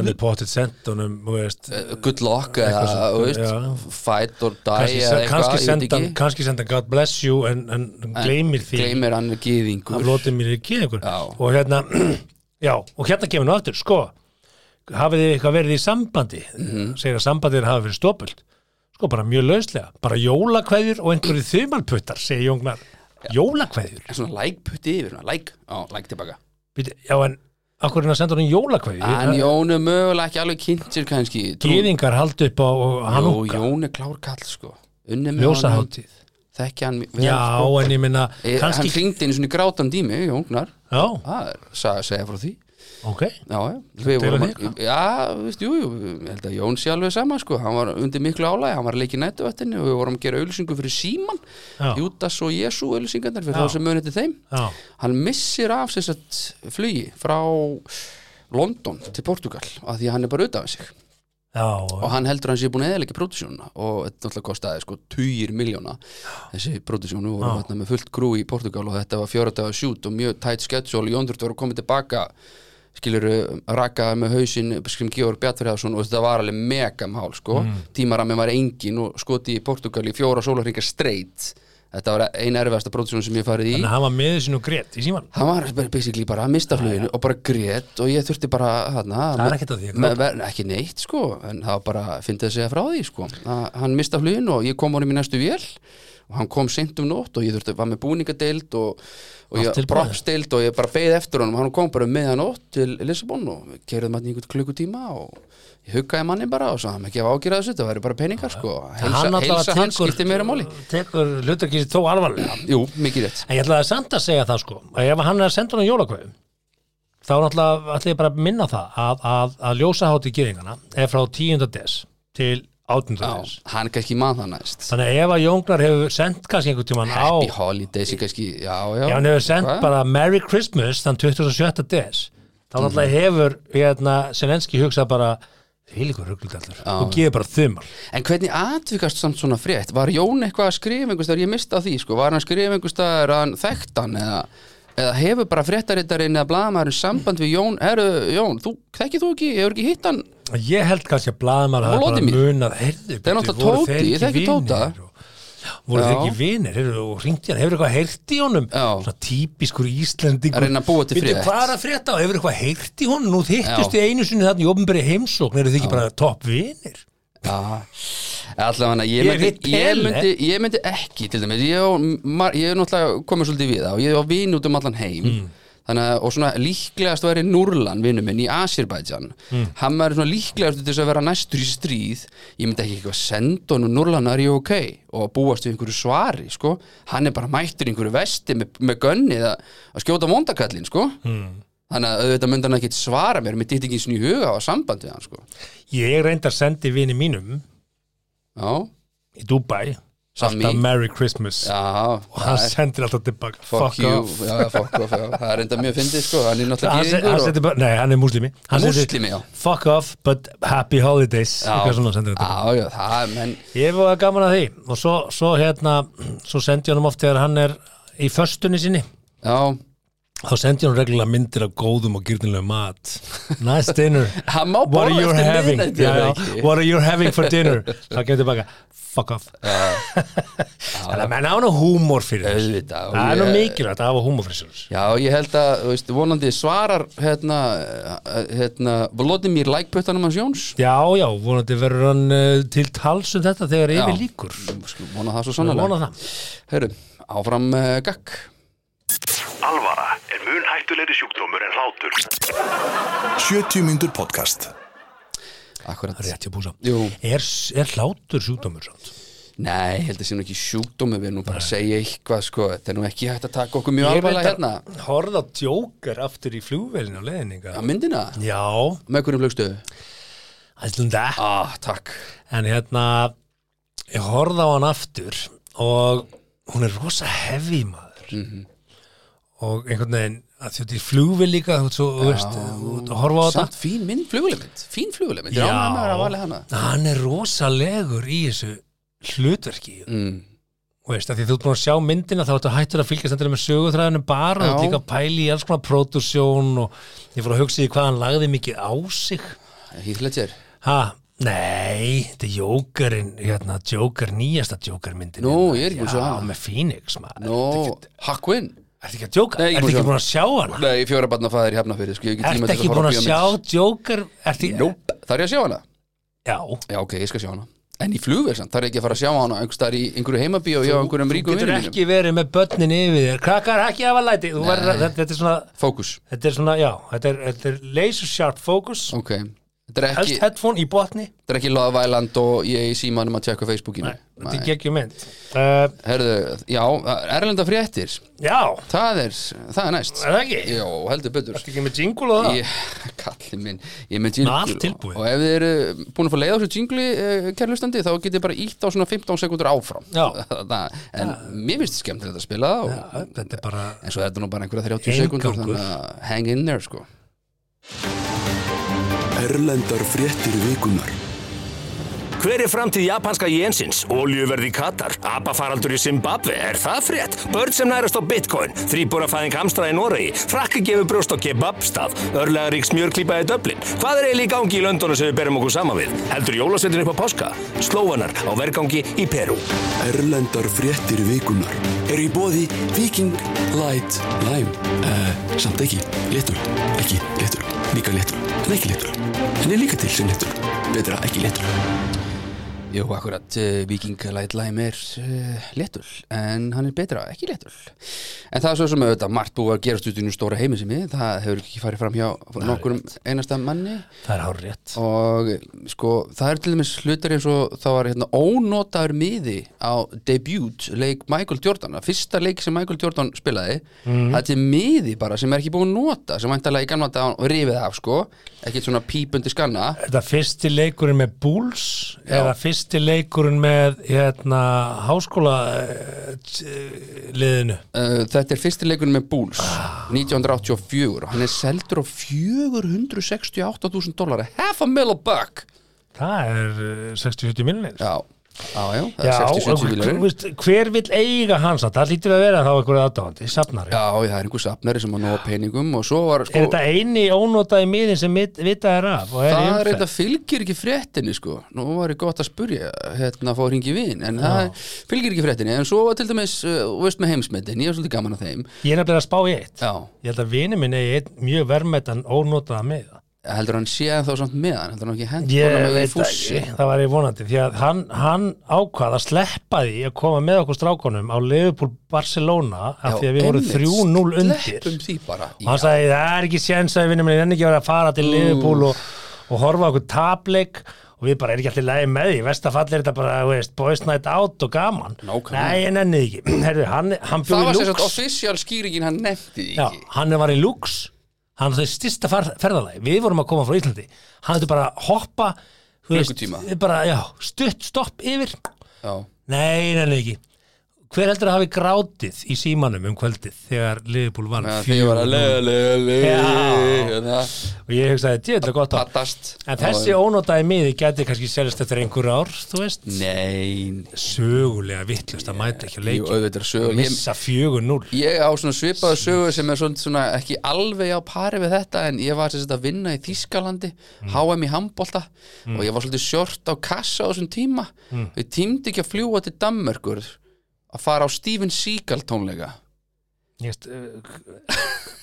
C: en við potið sendunum þú veist,
B: good luck eða,
C: svona,
B: þú veist,
C: já.
B: fight or die
C: kannski,
B: eða eitthvað,
C: kannski,
B: ég veit
C: sendan,
B: ekki.
C: kannski sendan God bless you en, en, gleymir því
B: gleymir hann
C: að
B: gýðingur
C: lotið mér ekki einhver
B: Já.
C: og hérna, já, og hérna kemur nú aftur sko, hafið þið eitthvað verið í sambandi
B: Mhm.
C: segir að sambandið hafið verið stópult sko, bara mjög lauslega bara jólakveðjur og einhverju þumalputtar segir Jóngnar, jólakveðjur
B: svona like putti yfir, svona like á, like tilbaka
C: Bíddu, já, en akkur er hann að senda honum
B: en
C: jólakveðjur
B: Jón er mögulega ekki alveg kynnt sér kannski Trú-
C: gýðingar haldi upp á
B: Jó,
C: Hanúka,
B: Jón er klár kall sko unni með honum,
C: ljósaháttíð
B: þekki hann vel,
C: já,
B: sko.
C: en ég minna,
B: Eh, hann
C: kannski
B: hringdi einu svona grátandi í mig Jóngnar,
C: já,
B: það er sa- að segja frá því
C: ok,
B: Já, já, við
C: Telur
B: vorum
C: þig
B: að, já, veist, jú, jú, ég held að Jón sé alveg sama, sko, hann var undir miklu álægi, hann var að leika í nætuvættinni og við vorum að gera auðlýsingu fyrir Síman,
C: Já.
B: Júdas og Jésu auðlýsingarnar fyrir
C: Já.
B: þá sem munið til þeim.
C: já
B: hann missir af sér satt flugi frá London til Portugal af því að hann er bara auðvitað af sig
C: já,
B: og hann heldur að hann sé búin að eðalega pródusjónuna og þetta náttúrulega kostaði sko 20 miljóna þessi pródusjónu og
C: Já.
B: voru hérna með fullt grú í Portugal og þetta var fjörðaða sjút og mjög tætt schedule og Jóndurt voru komið tilbaka skilur raka með hausinn skrim Georg Bjartfriðarsson og þetta var alveg megamál sko, mm. tímaramið var engin og skoti í Portugal í fjóra sólarhingar straight þetta var ein erfiðasta pródusjónu sem ég hef farið í
C: en hann var meður sín og grét í síman
B: hann var bara basically bara að mista fluginu og bara grét og ég þurfti bara hana,
C: Það er ekkert að því að
B: að gráta ekki neitt sko, en það var bara að fyndi að segja frá því sko. að hann mista fluginu og ég kom honum í næstu vél og hann kom seint um nótt og ég þurfti var með búningadeild og, og
C: Allt
B: ég
C: tilbúið.
B: propsdeild og ég bara beið eftir honum og hann kom bara um meðanótt til Lissabon og við kerðum hann í einhvern klukkutíma og ég huggaði manni bara og svo hann ekki hafa ágjörða þessu, það væri bara peningar sko heilsa hann,
C: náttúrulega
B: heilsa hann skipti meira máli
C: tekur hlutarkísi þó alvarlega
B: Jú, mikið rétt
C: en ég ætlaði samt að segja það sko að ef hann er að senda hann jólakveðum þá náttúrulega ætla ég bara að minna það að, að, að ljósahátti gýringana er frá 10. des til 18.
B: Já,
C: des
B: hann kannski mann það næst
C: þannig að ef að Jóngnar hefur sendt kannski einhvern tímann á
B: Happy
C: ef
B: Holidays er kannski, já, já
C: hann hefur sendt
B: Hvað?
C: bara Merry Christmas þann 27. des þá
B: Mhm.
C: náttúrulega hefur hérna, Selenski hugsað bara heiligur rugglugjallur og gefur bara þumar
B: En hvernig atvikast samt svona frétt? Var Jón eitthvað að skrifa einhverstaðar? Ég mista því, sko Var hann að skrifa einhverstaðar að hann þekkt hann eða, eða hefur bara fréttarittarinn eða blaðamaðurinn samband við Jón Herru, Jón, þú, þekki þú ekki? Ég hefur ekki hitt hann
C: Ég held kannski að blaðamæra hafa bara
B: Volodymyr.
C: munað heyrðu,
B: Það er náttúrulega Tóti, ég þekki Tóta.
C: voru þeir
B: Já.
C: ekki vinir heyrðu, og hringt hérna, hefur eitthvað heyrt í honum
B: Já.
C: svona típiskur Íslendingur
B: Að reyna að búa til
C: Bíddu,
B: friðar.
C: hvað er að frétta og hefur eitthvað heyrt í honum nú þyttust
B: Já.
C: þið einu sinni þarna í ofnberi heimsókn eru þið ekki bara topp vinir
B: Já, allavega ég,
C: Ég
B: myndi-
C: hitt
B: ég,
C: Pele.
B: myndi- ég myndi ekki til dæmis, ég, og mar- ég er náttúrulega komið svolítið við það og ég á vin út um allan heim
C: Mm.
B: þannig að, og svona líklegast væri Núrlan, vinnu minn, í Asirbædjan
C: Mm.
B: hann væri svona líklegast til þess að vera næstur í stríð, ég myndi ekki eitthvað senda honum Núrlan er ég ok og búast við einhverju svari, sko hann er bara mættur í einhverju vesti með, með gönnið að, að skjóta vondakallin, sko
C: Mm.
B: þannig að auðvitað myndi hann ekki svara mér með dýtt ekki einu sinni í huga á samband við hann, sko
C: ég reyndi að sendi vini mínum
B: Já,
C: í Dubai
B: Sammy.
C: alltaf Merry Christmas
B: já
C: og hann sendir alltaf tilbaka
B: fuck,
C: fuck,
B: you,
C: off
B: já, já, fuck off já. það er enda mjög fyndið sko, hann er
C: hann, se-
B: náttúrulega
C: hann
B: gýringur og...
C: sendir bara, nei hann er múslimi hann
B: Múslimi, já.
C: fuck off but happy holidays
B: Já.
C: eitthvað svona sendir hann tilbaka
B: Já, já, það er menn
C: Ég var gaman að því og svo, svo hérna, svo sendi ég honum oft þegar hann er í föstunni sinni
B: Já,
C: þá sendi ég honum reglulega myndir af góðum og gyrnilegum mat Nice dinner
B: Hann má
C: What are
B: borða
C: you
B: eftir
C: having?
B: miðnætti,
C: Já,
B: eða
C: já,
B: ekki?
C: What are you having for dinner? Það kemur tilbaka Fuck off Þannig að menn á nú húmor fyrir þessu.
B: Auðvitað, og
C: Það er nú
B: ég-
C: mikilvægt að hafa húmor fyrir þessu.
B: já, ég held að, þú veist, vonandi svarar hérna, eh, hérna Vlodimir lækpötanum hans Jóns
C: Já, já, vonandi verður hann uh, til tals um þetta þegar
B: Já.
C: yfir líkur
B: Skulum Vona það svo
C: Vona
B: sannlega
C: það
B: Heyru, áfram uh, gakk
D: Alvara er mun hættulegri sjúkdómur en hlátur.
A: 70 mínútur podcast
B: Akkurat
C: Rétt hjá búsa
B: Jú.
C: er, er hlátur sjúkdómur samt?
B: Nei, ég held að sé nú ekki sjúkdómi við erum nú bara að segja eitthvað sko Þetta er nú ekki hægt að taka okkur mjög
C: Ég
B: alvarlega hérna
C: reyndar horfði á Joker aftur í flugvelin á leðninga
B: Já, myndina,
C: Já,
B: með hverjum flugstöðu
C: ætlum það
B: Ah, takk
C: En hérna, ég horfði á hann aftur og hún er rosa hefi maður og einhvern veginn að þjótt í flugvel líka þú veist, svo, þú veist, þú veist, að horfa á þetta
B: Samt fín minn flugulegmynd Fín flugulegmynd, já, hann er að vali hana
C: hann er rosalegur í þessu hlutverki mm. og veist, að því þú ert búin að sjá myndina þá ertu hættur að fylgjast endur með sögutræðinu bara
B: Já.
C: og líka að pæli í alls konar pródusjón og ég fór að hugsa í hvað hann lagði mikið á sig
B: Heath Ledger
C: ha, nei, þetta er Jokerinn hérna, Joker, nýjasta Joker myndin
B: Nú, ég er ekki búin að
C: já,
B: sjá hana.
C: með Phoenix, maður
B: Nó, Hakvinn
C: ertu ekki að jóka,
B: Nei, ég er búin að
C: ertu ekki
B: sjá
C: búin að sjá hana
B: Nei, fjóra barna fæðir í Hafnafyrir sko, ég hef tíma
C: ertu
B: til
C: ekki
B: horfa
C: búin
B: á
C: að sjá
B: bíómynd.
C: Joker ertu,
B: Nope, þarf ég að sjá hana?
C: já,
B: Já, ok, ég skal sjá hana En í flugversan, þarf ég ekki að fara að sjá hana einhvers staðar í einhverju heimabíó og hjá einhverjum
C: þú
B: ríkum
C: getur
B: vinnum mínum
C: ekki verið með börnin yfir þér krakkar, ekki hafa læti, þú verður að- þetta, þetta er svona
B: Fókus,
C: Þetta er svona, já, þetta er, þetta er laser sharp focus,
B: ok Þetta er ekki,
C: helst headphone í botni
B: þetta er ekki loðvæland og ég í símanum að tjekka á Facebookinu
C: Þetta
B: Nei.
C: er geggjum mynd uh,
B: Herðu, já, erlenda fréttir
C: Já,
B: Það er, það er næst
C: er það ekki?
B: Jó, heldur betur
C: Þetta ekki með jingle og það?
B: ég, kalli minn, ég er með jinglu
C: Allt tilbúið.
B: og ef þið eru búin að fá leið á þessu jingli eh, kærlustandi þá getið þið bara ítt á svona 15 sekundur áfram
C: Já.
B: það, en mér finnst þið skemmtilegt að spila það og,
C: Þetta er bara
B: en svo er þetta nú bara einhverja 30 sekundur
C: Inngangur.
B: þannig að hang in there sko
A: Erlendar fréttir vikunar
E: Hver er framtíð japanska jensins? Oljuverð í Katar? Apafaraldur í Zimbabwe? Er það frétt? Börn sem nærast á bitcoin? Þrýbúrafæðing hamstra í Noregi? Frakki gefur brjóst á kebabstað? Örlegarík smjörklípa í Dublin? Hvað er eiginlega í gangi í Londonu sem við berum okkur saman við? Heldur jólasveitin upp á páska? Slóvanar á vergangi í Peru?
F: Erlendar fréttir vikunar er í bóði Viking Light Lime uh, samt ekki léttul, ekki léttul líka léttul, en ekki léttul en er líka til sem léttul, betra ekki léttul
B: Jú, akkurat, uh, Viking Light Lime er uh, letul, en hann er betra, ekki letul. En það er svo sem auðvitað margt búið að gerast út í nú stóra heimi sem ég, það hefur ekki farið fram hjá nokkurum einasta manni.
C: Það er hár rétt
B: og sko það er til dæmis hlutir eins og það var hérna ónotaður miði á debut leik Michael Jordan, að fyrsta leik sem Michael Jordan spilaði,
C: Mhm.
B: það er til miði bara sem er ekki búin að nota, sem væntalega í gamla dag rifið af sko, ekkert svona pípundi skanna,
C: Er það fyrsti leikurinn með Bulls eða fyrsti leikurinn með hérna, háskóla eh, t- eh, liðinu
B: uh, þetta er fyrsti leikunum með Bulls
C: Ah.
B: 1984 og hann er seldur á 468.000 dólar half a mill a buck
C: Það er eh, 60-70 miljonir
B: Já, Já, já, það
C: Já,
B: er 60-70
C: hver,
B: miljónir
C: veist, hver vill eiga hans að það lítur að vera þá einhverju aðdáðandi, safnari
B: Já, það er einhver safnari sem á nóga peningum og svo var sko,
C: Er þetta eini ónótaði miðin sem mit- vitað er af og er
B: það er
C: í
B: þetta
C: umferð?
B: fylgir ekki fréttinni sko nú var ég gott að spurja hérna að fá hringi vin en það fylgir ekki fréttinni en svo var til dæmis, uh, þú veist með heimsmetin ég er svolítið gaman að þeim
C: Ég er nefnilega að spá í eitt
B: Já,
C: Ég held að vini minn eigi eitt mjög verðmættan ónótaða miða
B: heldur hann sé þá samt með hann heldur hann ekki hent
C: Ég
B: honum í
C: veit það
B: fússi?
C: ekki, það var ég vonandi því að hann, hann ákvað að sleppa því að koma með okkur strákonum á Liverpool Barcelona af
B: Já,
C: því að við vorum
B: einmitt,
C: 3-0 undir
B: sleppum því bara
C: og hann sagði það er ekki séns að vinnum minn enn ekki að vera að fara til Liverpool og, og horfa á okkur tapleik og við bara er ekki allir lægi með því vestafall er þetta bara, þú veist, boys night out og gaman
B: Nákvæmlega.
C: nei, en ennið ekki Herðu, hann, hann
B: það var sem
C: bjóði
B: sagt
C: lúks
B: official skýringin hann nefndi
C: Já,
B: ekki
C: hann var í lúks hann þau stista ferðalagi, við vorum að koma frá Íslandi hann þau bara að hoppa þú
B: Klukkutíma.
C: bara, já, stutt stopp yfir
B: Já.
C: nei, ennið ekki hver heldur að hafi grátið í símanum um kvöldið þegar Liverpool vann
B: Meðan því var að
C: 4-0?
B: le, le, le,
C: Já.
B: hérna,
C: og ég hugsaði, djöðlega gott að
B: pattast
C: En þessi ónótaði miði geti kannski seljast eftir einhver ár, þú veist
B: Nein,
C: Sögulega vittlust að mæta ekki á
B: Mm. jú,
C: leiki
B: auðvitað er sögur ég,
C: Missa fjögur núl
B: ég á svona svipaðu sögu sem er svona, svona ekki alveg á pari við þetta en ég var sérst að vinna í Þískalandi HM í handbolta og ég var svolítið sjort á kassa á þessum tíma og ég tímdi ekki að fljúa til Danmörkur að fara á Steven Seagal tónleika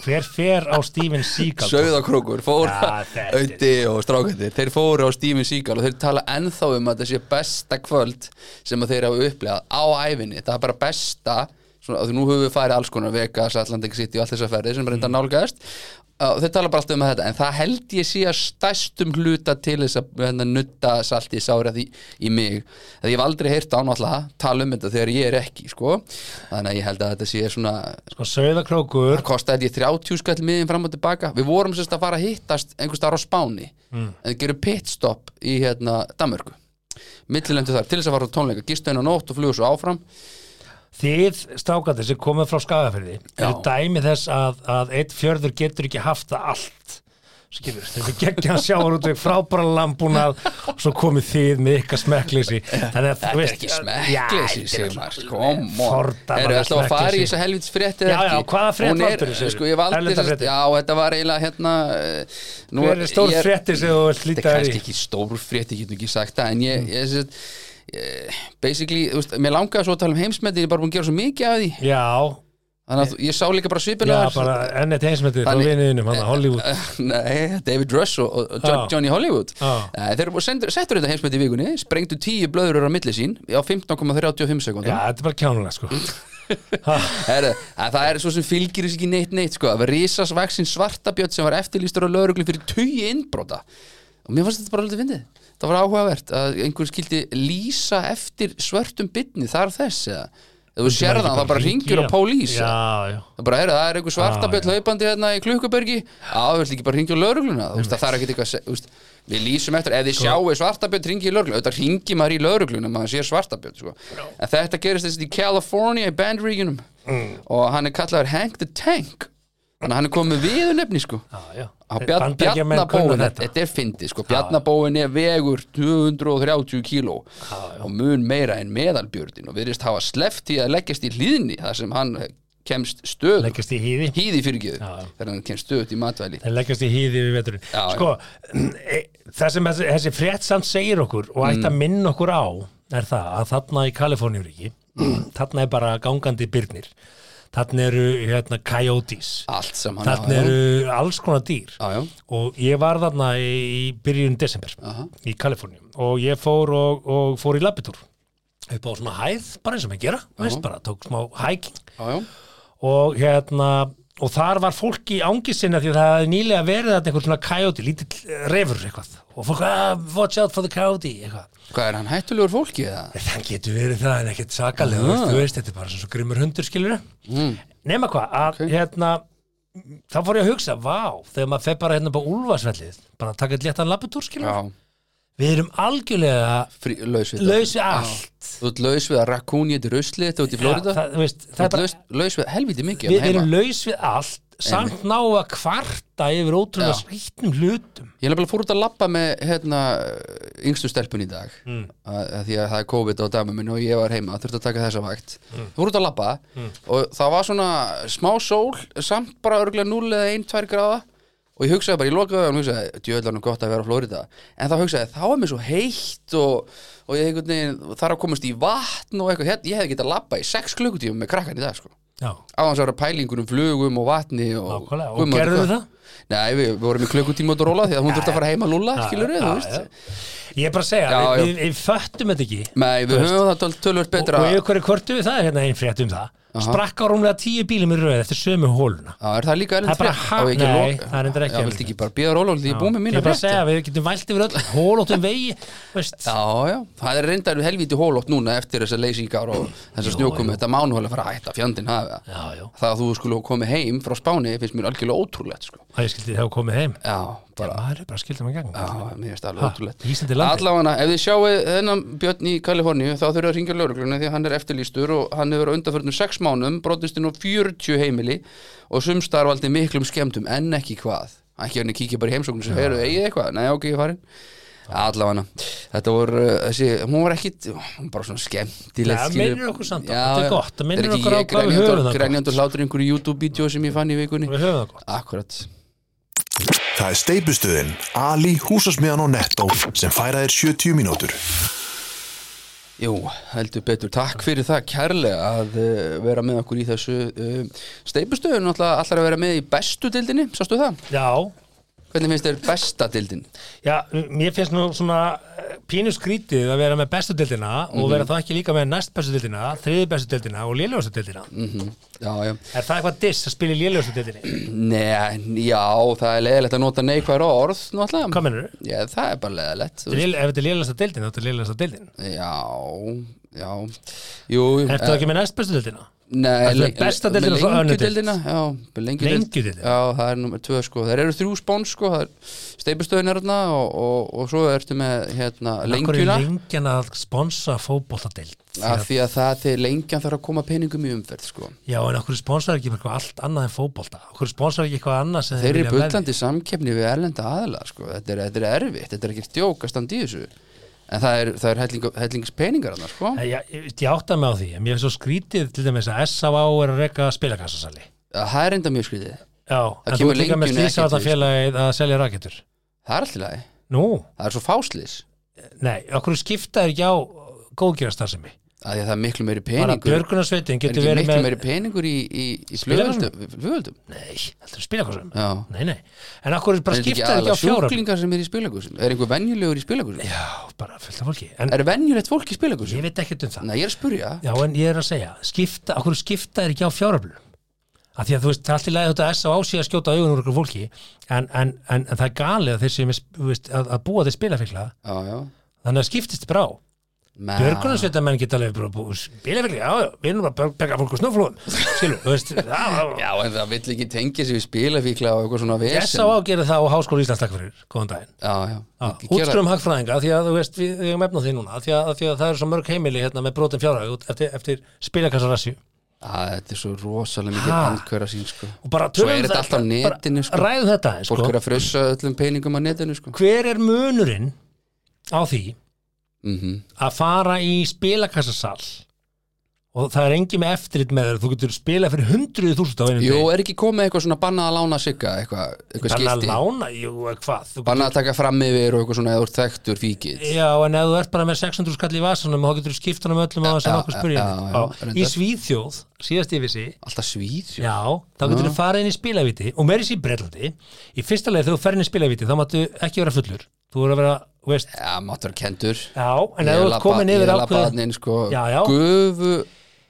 C: Hver fer á Steven Seagal
B: Söðakrókur, fór
C: Ja, þetta er-
B: auði og strákandi þeir fóru á Steven Seagal og þeir tala ennþá um að þetta sé besta kvöld sem að þeir hafa upplegað á æfinni það er bara besta svona, af því nú höfum við farið alls konar Vegas, Atlantic City og allt þess að ferði sem er
C: Mhm.
B: reynda nálgæðast Uh, þeir tala bara alltaf um þetta en það held ég sé að stæstum hluta til þess að hérna, nutta salti sára því í mig að ég hef aldrei heyrt án alltaf tala um þetta þegar ég er ekki sko. þannig að ég held að þetta sé svona
C: Sko Söðakrókur
B: það kostaði ég 30 skall miðin fram og tilbaka við vorum sérst að fara að hittast einhvers þar á Spáni
C: Mm.
B: en við gerum pitstop í hérna Danmörku millilendu þar til þess að fara á tónleika gistu einu nótt og flugur svo áfram
C: Þið strákandi sem komið frá Skagafyrði eru
B: Já.
C: dæmi þess að, að eitt fjörður getur ekki haft það allt skilur, þetta er geggja að sjáur út frábæra lambúnað og svo komið þið með ykkar smekkleysi Þetta
B: þetta er ekki smekkleysi Sigmar, kom on
C: Fordæmalaust
B: erum við alltaf að fara í
C: smekkleysi.
B: þessa helvits frétti
C: Já, já, hvaða frétt valdirðu, segirðu?
B: sko, ég valdi
C: Erlenda
B: þess
C: fréttin?
B: já, þetta var eiginlega hérna eh, nú
C: Hver er stór
B: ég-
C: fréttir sem þú vilt
B: þetta
C: líta
B: er
C: þér í? Mm.
B: kannski ekki stór frétt, ég get nú ekki sagt það en ég, ég, ég, ég basically, þú veist, mér langaði svo að tala um heimsmeti ég er bara búin að gera svo mikið af því
C: Já,
B: Þannig að ég sá líka bara svipinu
C: já bara enn eitt heimsmetið frá
B: Þannig-
C: viniðinum, hann að Hollywood
B: Nei, David Russ og, og John,
C: Já.
B: Johnny Hollywood
C: Já.
B: Nei, Þeir voru sendur- settur þetta heimsmynd í vikunni Sprengdu tíu blöður á milli sín Á 15,35
C: Já,
B: sekundum
C: þetta er bara kjánulega sko
B: Heru, að Það er svo sem fylgir þess ekki neitt neitt sko. Það var risasvaksinn svartabjött sem var eftirlýstur á lögreglu fyrir tugi innbrota Og mér fannst þetta bara haldið fyndið Það var áhugavert að einhver skildi lýsa eftir svörtum bytni þar þess eða Ef þú sér það, það bara ringir á pólís
C: Já, já
B: Það bara er, það er einhver svartabjöld
C: Já,
B: hlaupandi hérna í Klukkubergi, á, við vilt ekki bara ringja á lögregluna, þú veist að það er ekkert eitthvað að se- þú veist, við lýsum eftir, ef þið sjáu svartabjöld ringi í lögregluna, auðvitað ringi maður í lögregluna maður sér svartabjöld, sko en þetta gerist þess að í California í bandríkunum og hann er kallaður Hank the Tank þannig að hann er komið við nefni, sko
C: Já, já.
B: Á Bjarn-
C: Bandaríkjamenn
B: Bjarnabóin,
C: kunna
B: þetta er fyndið sko, Bjarnabóin er vegur 230 kíló og mun meira en meðalbjördin og virðist hafa sleft í að leggjast í hlýðni þar sem hann eh, kemst stöð
C: leggjast í hýði
B: hýði fyrirgjöðu
C: Já.
B: þegar hann kemst stöð í matvæli
C: þeir leggjast í hýði við veturinn
B: Já, já.
C: sko, e, það sem þessi, þessi frétt samt segir okkur og ætti
B: Mm.
C: að minna okkur á er það að þarna í Kaliforníuríki þarna er bara gangandi byrnir þarna eru hérna coyotes
B: allt saman já,
C: þarna
B: já.
C: eru alls konar dýr
B: Já, já.
C: og ég var þarna í, í byrjun desember í Kaliforníum og ég fór og, og fór í labbitúr upp á svona hæð, bara eins og maður gera veist bara, tók smá hiking
B: Já, já.
C: og hérna og þar var fólk í ángi sinna því að það hafði nýlega verið þarna einhver svona coyote, lítill eh, refur eitthvað og fólk, ah, watch out for the coyote eitthvað,
B: hvað er hann hættulegur fólki eða?
C: það getur verið það en ekkert sakalega,
B: Ah.
C: uh. þú veist, þetta er bara svona svo grimmur hundur skilur mm. nema hvað, að hérna þá fór ég að hugsa, vá, þegar maður fer bara hérna bara úlfarsvellið, bara að taka eitt léttan labbutúr skilur,
B: já,
C: við erum algjörlega
B: frí, laus við
C: laus við
B: Já.
C: allt
B: þú ert laus við að rakún geti rusli þetta út í Florida
C: það, þú veist,
B: þú
C: það er
B: ert
C: bara
B: laus, laus við helviti mikið
C: við
B: hérna
C: erum
B: heima.
C: laus við allt samt ná að kvarta yfir ótrúlega
B: Já.
C: skrýtnum hlutum
B: Ég er nefnilega fór út að labba með hérna, yngstu stelpun í dag
C: Mm.
B: að, að því að það er COVID á damu minn og ég var heima, þurfti að taka þessa vakt mm. fór út að labba og það var svona smá sól, samt bara örgulega 0 eða 1-2 gráða og ég hugsaði bara, ég lokaði og hugsaði, djöðlanum gott að vera á Flórida en þá hugsaði, ég, þá er mér svo heitt og, og ég einhvern veginn þarf að komast í vatn og eitthvað, Hér- ég hefði getað labbað í 6 klukkutíma með krakkan í dag sko
C: Já,
B: á hans að vera pælingunum, um flugum og vatni og,
C: Nákvæmlega, og
B: guð maður veit
C: gerðu
B: hvað.
C: það?
B: Nei, við, við vorum í klukkutíma út að róla því að hún þurfti að fara heima að lúlla,
C: Já,
B: skilur við,
C: já,
B: þú veist
C: já. Ég er bara að segja,
B: Já,
C: við,
B: já.
C: við, við föttum þetta ekki
B: Nei,
C: Þú
B: við höfum það töl- tölvöld
C: og,
B: betra
C: og yfir hverju kvörtu við það er hérna einn frétt um það sprakk á rúmlega tíu bílum í röð eftir sömu hóluna
B: Já, er það líka erlend
C: Það er bara
B: frétt?
C: ha-
B: Á ég ekki að
C: nei,
B: loka-
C: það er reyndar ekki
B: Já,
C: erlend
B: viltu ekki bara bíða róla því ég er búið með
C: ég
B: mína
C: er bara að
B: frétt
C: segja, við getum vælt yfir öll hólóttum vegi veist,
B: Já, já, það er reyndar helvíti hólótt núna eftir þessar leysingar og þessar snjókum þetta mánuhóla fara að hætta fjandinn hafi það.
C: Já, já.
B: Það að þú skulle komið heim frá Spáni finnst mér algjörlega ótrúlegt sko.
C: að ég skildi þegar komið heim
B: Já, bara
C: maður er bara skildum að ganga
B: Já, mér finnst það alveg
C: Ha,
B: ótrúlegt
C: Ísland er landið.
B: Allavega, ef þið sjáu þennan Björn í Kaliforníu þá þurfa að ringja lögreglunni því að hann er eftirlýstur og hann hefur á undanförnum 6 mánum brotist inn á 40 heimili og sumstarfaldi miklum skemmtum en ekki hvað ekki hann kíkja bara í heimsóknu sem eru eigið eitthvað, nei ok, ég er farin Allavega, þetta voru uh, þessi, hún var ekkit, hún var bara svona skemmtilegt
C: Ja,
B: skilur.
C: minnir okkur samt á,
B: Já,
C: þetta er
B: já.
C: gott, það minnir
B: Þetta er
C: okkur á
B: ekki
C: hvað við
B: grenjandi-
C: höfum það gott.
B: Grenjandi og hlátur í einhverju YouTube-vídeó sem ég fann í vikunni
C: við höfum það gott
B: Akkurat
A: Það er steipustuðin Ali, húsasmiðan og Netto sem færa þér 70 mínútur.
B: Jú, heldur betur. Takk fyrir það kærlega að uh, vera með okkur í þessu uh, steipustöðun alltaf allar að vera með í bestu dildinni, sástu það?
C: já,
B: Hvernig finnst þér besta dildin?
C: Já, mér finnst nú svona eh, pínu skrítið að vera með bestu deildina
B: Mhm.
C: og vera þá ekki líka með næst bestu deildina, þriði bestu deildina og léljóðustu deildina.
B: Mm. Já, já.
C: Er það eitthvað diss að spila í léljóðustu deildinni?
B: Nei, já, það er leðilegt að nota neikvæður orð, náttúrulega.
C: Hvað mennur?
B: Já, það er bara leðilegt.
C: Ef þetta er léljóðustu deildin, þá er þetta léljóðustu deildin.
B: Já, já. Jú, eh,
C: Er þetta ekki með næst bestu deildina?
B: Nei,
C: Ertu með besta deildina og svo önnur deild?
B: lengjudeldina Já, með lengjudeild
C: Lengjudeildina?
B: Já, það er nummer tvö sko Það eru þrjú spón sko Það er steipustöðin hérna og, og, og svo ertu með hérna lengjuna
C: Lengjan að sponsa fótboltadeild.
B: Af því að það til lengjan þarf að koma peningum í umferð sko
C: Já, en okkur sponsar ekki eitthvað allt annað en fótbolta. Okkur sponsar ekki eitthvað annað sem
B: Þeir eru
C: vilja veðja?
B: bullandi samkeppni við erlenda aðla sko Þetta er, þetta er erfitt, þetta er ekki stjókast í þessu En það er, það er helling, hellings peningar hérna sko
C: Nei, já, Ég, ég átta mig á því, en mér finnst svo skrítið til dæmis að SAA er að reyka spilakassasali.
B: Það er enda mjög skrítið
C: Já, en þú
B: kemur
C: ert líka með
B: lengjunni ekkert
C: slísaðarfélagið að selja rakettur.
B: Það er alltaf lagi
C: Nú,
B: Það er svo fáslis
C: nei, okkur skiptaður ekki á góðgjörastarsemi.
B: Af því að það er miklu meiri
C: Bara
B: peningur
C: björgunarsveitin
B: Er
C: getur
B: ekki
C: verið
B: miklu
C: með...
B: meiri peningur í, í, í
C: Spilaranum?
B: flugöldum? flugöldum?
C: Nei, heldur að spila eitthvað sem.
B: Já.
C: Nei, nei. En okkur bara
B: Er þetta ekki
C: skiptaður ekki
B: aðalega
C: á fjóra.
B: sjúklingar sem er í spilagúsum? Er einhver venjulegur í spilagúsum?
C: Já, bara fullt af fólki. En
B: Er venjulegt fólk í
C: ég
B: spilagúsum?
C: veit ekkert um það.
B: Nei, ég er að spurja
C: Já, en ég er að segja, skipta, okkur skiptaður ekki á fjáröflum. Af því að þú veist, það er allt í lagi þetta S og ásí að skjóta augun úr okkur fólki, en, en, en, en það er galið að þeir sem veist, að, að búa þeir spilafíkla,
B: Já, já
C: þannig að skiptist brá.
B: Men-
C: Björgunarsveitamenn geta alveg bara búið spilafélagi, já, já, við erum bara að berga fólk úr snjóflóðum, skilu, þú veist, já, já,
B: Já, en það vill ekki tengja sig við spilafíkla og eitthvað svona
C: já.
B: vesen
C: S.A.A. gerir það og Háskóla Íslands takk fyrir, góðan daginn.
B: Já, já
C: Ah,
B: Ég gera-
C: Útskrum hagfræðinga, því að þú veist, við, við erum efnað því núna, því að, því að það eru svo mörg heimili hérna með brotin fjárhag út eftir, eftir spilakassarassi
B: Já, Ah, þetta er svo rosalega mikið
C: Ha.
B: andkværa sín, sko
C: og bara
B: Svo
C: tölum um
B: er þetta allt á
C: bara
B: netinu, sko.
C: Ræðum þetta, aðeins,
B: Fólk
C: sko,
B: er að frussa öllum peningum á netinu, sko
C: hver er munurinn á því
B: Mhm.
C: að fara í spilakassasall og það er engin með eftirlit með þér, þú getur spilað fyrir 100.000 á einum
B: Jú,
C: degi.
B: er ekki komið eitthvað svona bannað að lána sigga, eitthvað, eitthvað
C: Þannig að
B: skilti
C: lána, jú, hvað þú
B: Bannað að taka fram yfir og eitthvað svona eða úr þekktur fíkild
C: Já, en ef þú ert bara með 600 skall í vasanum þá getur þú skipt honum öllum um á þess að
B: Já,
C: nokkuð
B: já,
C: spyrja
B: já, reyndar.
C: Í Svíþjóð, síðast yfir sig
B: Alltaf svíð,
C: Já, þá getur þú farið inn í spilaviti og meiri sér í Bretlandi Í fyrsta leið þegar þú ferð inn í spilaviti þá máttu ekki vera fullur Þú voru að vera, þú veist
B: Já, máttur kendur
C: Já, en ef þú ert komin yfir ákveð
B: ákveðin sko,
C: Já, já.
B: Gufu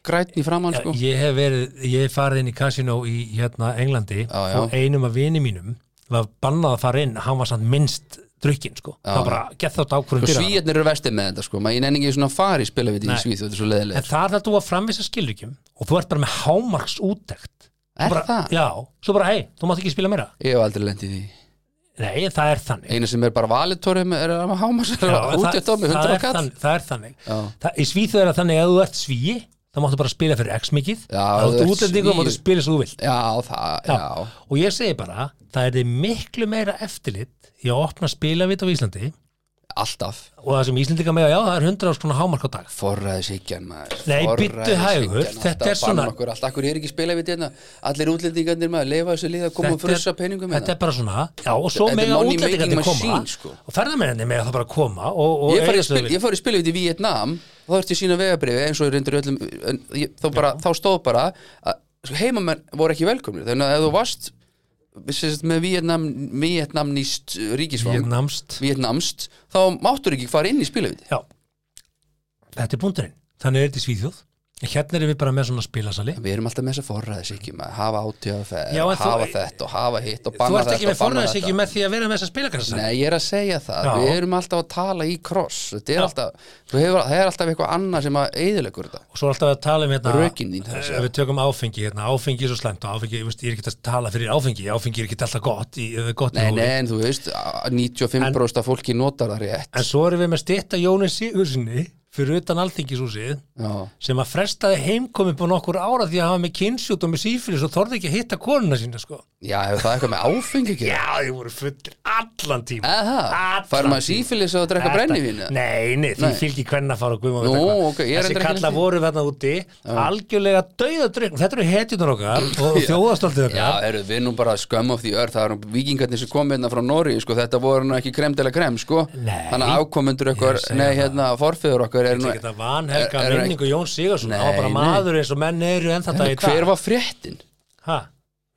B: grætni framann sko.
C: Ég hef verið, ég hef farið inn í kasino í hérna Englandi
B: Já, já.
C: og einum af vini mínum var bannað að fara inn, hann var samt minnst drukkin, sko, já, það var bara gett þátt
B: Og
C: ákvörðum fyrir hann.
B: svíjarnir eru vestið með þetta sko. Maður nenni ekki svona fari spilaviti í
C: Nei.
B: Svíð Þetta er svo
C: En
B: leðilegt sko.
C: það er að þú að framvisa skilríkjum og þú ert bara með hámarks útdekt
B: Er
C: bara,
B: það?
C: Já, svo bara, hei, þú mátt ekki spila meira
B: Ég hef aldrei lendið því
C: Nei, það er þannig
B: Einu sem er bara valitorið er að maður háma sér
C: Já,
B: út í
C: það,
B: tómi 100
C: það, er
B: kall
C: þannig, það er þannig
B: Já.
C: það, Í Svíþjóð er það þannig að ef þú ert svíi það máttu bara spila fyrir X mikið
B: Já,
C: það
B: þú
C: máttu
B: ert
C: útlendingu,
B: svín.
C: það máttu spila svo þú vilt
B: Já, það, já,
C: og ég segi bara, það er þið miklu meira eftirlit í að opna spilavit á Íslandi
B: alltaf
C: og það sem Íslandika með, já, það er 100 áskrona hámark á dag
B: Forræðishyggjan maður
C: Nei, bíddu hægur, þetta er svona-
B: okkur, Allt akkur er ekki spila við þetta Allir útlendingarnir maður leifa þessu lið að koma og
C: Þetta er-
B: frussa peningum
C: þetta
B: hérna.
C: er bara svona, já, og svo
B: Þetta er
C: mega
B: money making
C: útlendingandi koma
B: machine, sko.
C: og ferðamenninni mega það bara koma og, og
B: Ég fari
C: eiga
B: að
C: sem þau
B: spila,
C: vilja.
B: ég fari að spila við í Vietnam og þá ertu sína vegabrifi eins og reyndur í öllum en ég- þá, bara, þá stóð bara að heimamenn voru ekki velkomni þannig að ef þú varst sérst, með Vietnam, Vietnamnist ríkisvang
C: Vietnamst
B: Vietnamst þá máttur ekki fara inn í spilaviti
C: Já, þetta er búndurinn Þannig er þetta í Svíþjóð Hérna erum við bara með svona spilasali
B: Við erum alltaf með þess að forræðisíkjum að hafa átöf
C: Já, en þú-
B: hafa þetta og hafa hitt og
C: Þú
B: banna
C: ert
B: þetta
C: ekki með
B: og banna
C: forræðis
B: þetta.
C: með því að vera með þessa spilakassasali
B: Nei, ég er að segja það,
C: Já.
B: við erum alltaf að tala í kross Þetta er
C: Já.
B: alltaf, þú hefur, það er alltaf eitthvað annað sem að eyðilegur þetta
C: Og svo er alltaf að tala um hérna
B: Rökin þín, það er að
C: Ef
B: segja.
C: við tökum áfengi hérna, áfengi er svo slæmt og áfengi, ég, veist, ég er ekki að tala fyrir áfengi áfengi er ekki alltaf gott í, eh, gott í
B: Nei,
C: hófi.
B: nei, en þú veist, að 95% af fólki notar það rétt
C: En svo erum við með stetta Jónin Sigursinni fyrir utan alþingishúsið
B: Já,
C: sem að frestaði heimkomi búin okkur ára því að hafa með kynnsjút og með sífylis og þorði ekki að hitta konuna sína sko.
B: já hefur það eitthvað með áfengi ekki
C: Já, þið voru fullir allan tíma
B: Aha,
C: Allan
B: fær maður
C: tíma.
B: sífélis að drekka
C: Þetta-
B: brennivín eða?
C: Nei, nei, því
B: Nei.
C: fylgir hvernig að fara og guðum og
B: Nú,
C: veit hvað.
B: ok, ég er
C: Þessi
B: reyndar ekki
C: kalla
B: neitt í-
C: voru þarna úti algjörlega dauðadrykk Þetta eru hetjunar okkar og þjóðastoltið
B: Já,
C: okkar
B: eru við nú bara skömm of því ör Það eru vikingarnir sem kom hérna frá Nóri sko, Þetta voru nú ekki krem til að krem sko.
C: Nei.
B: Þannig að ákomendur okkar,
C: Ég segi
B: nei
C: það.
B: hérna Forfeður okkar er nú
C: Þetta vanhelga
B: Er- er-
C: minningu Jón Sigurðsson
B: Nei,
C: Það var bara
B: nei.
C: maður eins og menn eru enn þetta í dag
B: Hérna, Hver var fréttin?
C: Ha,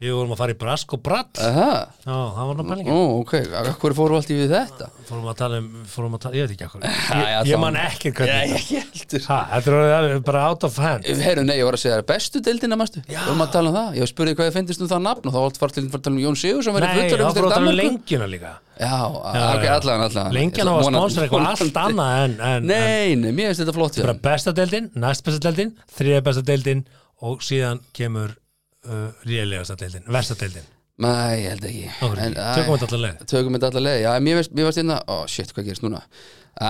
C: Við vorum að fara í brask og bratt Já,
B: Aha.
C: það var nú pælingin
B: Ó, ok, hvað fórum allt í við þetta?
C: Fórum að tala um, fórum að tala, ég veit ekki akkur
B: já,
C: Ég, ég
B: þá-
C: man ekkert hvernig
B: ekki heldur
C: Ha, Þetta er orðið bara out of hand
B: Herru, nei, ég var að segja það, bestu deildina, mástu? Já Við erum að tala um það, ég spurði hvað ég finnist um það nafn og þá var allt fart til að tala um Jón Sigur sem verið
C: Nei,
B: fullar
C: það
B: einhvers
C: var
B: staðar í
C: að
B: Danmörku.
C: tala um lengjuna líka
B: Já,
C: já,
B: ok,
C: já.
B: allan, allan
C: Lengjan á að sponsora eitthvað allt annað en, en, en
B: Nei, nei, mér finnst þetta flott hjá
C: bara
B: þeim.
C: besta deildin, næst besta deildin þriða besta deildin og síðan kemur uh, rélegasta deildin versta deildin,
B: Nei, ég held ekki
C: Okkur
B: En,
C: ekki.
B: æ,
C: Tökum þetta alla leið.
B: Tökum þetta allar leið, já, mér finnst- mér fannst hérna Ó, shit, hvað gerist núna?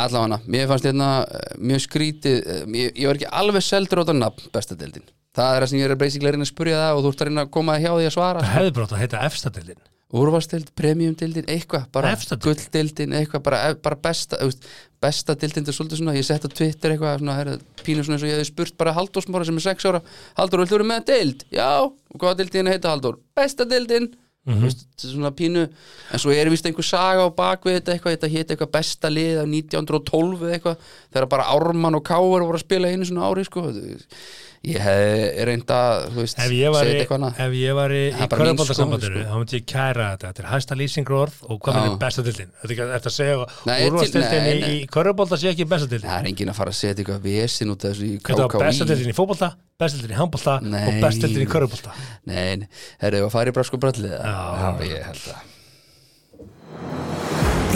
B: Allan hana, mér fannst hérna eh, mjög skrítið eh, Ég ég var ekki alveg seldur á þetta nafn, besta deildin Það er það sem ég er að basically að reyna að spurja það og þú ert að reyna að koma hjá því að svara
C: það hefði bara átt að heita efsta deildin
B: úrvarstild, premiumdildin, eitthvað bara
C: Efsta deild.
B: gulldildin, eitthvað bara, eh, bara besta, þú veist, besta dildin þetta er svolítið svona, ég sett á Twitter eitthvað svona, herra, pínu svona eins og ég hefði spurt bara Halldór Smára sem er 6 ára, Halldór, viltu vera með dild? Já, og hvað dildin heita Halldór? Besta dildin,
C: Mhm.
B: mm veist, svona pínu en svo er vist einhver saga á bakvið þetta eitthvað, þetta hétt eitthvað besta lið af 1912 eða eitthvað, þegar bara Ármann og Káur voru að spila einu svona ári sko, þú veist. ég hefði reynda þú veist,
C: ef ég var í,
B: segja eitthvað annað.
C: ef ég var í,
B: Það
C: í
B: er bara mín
C: körfabóldasambandinu
B: skoðun, sko.
C: þá myndi ég kæra þetta, þetta er hæsta lýsingróð og hvað
B: Já.
C: er besta deildin þetta er ekki eftir að
B: Nei,
C: segja
B: til-
C: úrvarsdeildin
B: nei,
C: í,
B: nei.
C: í körfabólda sé ekki besta deildin
B: Það er enginn að fara að setja eitthvað vesin út af þessu í
C: þetta var besta
B: KKÍ
C: deildin í fótbolta, besta deildin í handbolta og
B: Nei.
C: besta deildin í körfabólda
B: Nei, nei. herru, ef að fara í brasku brallið Já, ég held að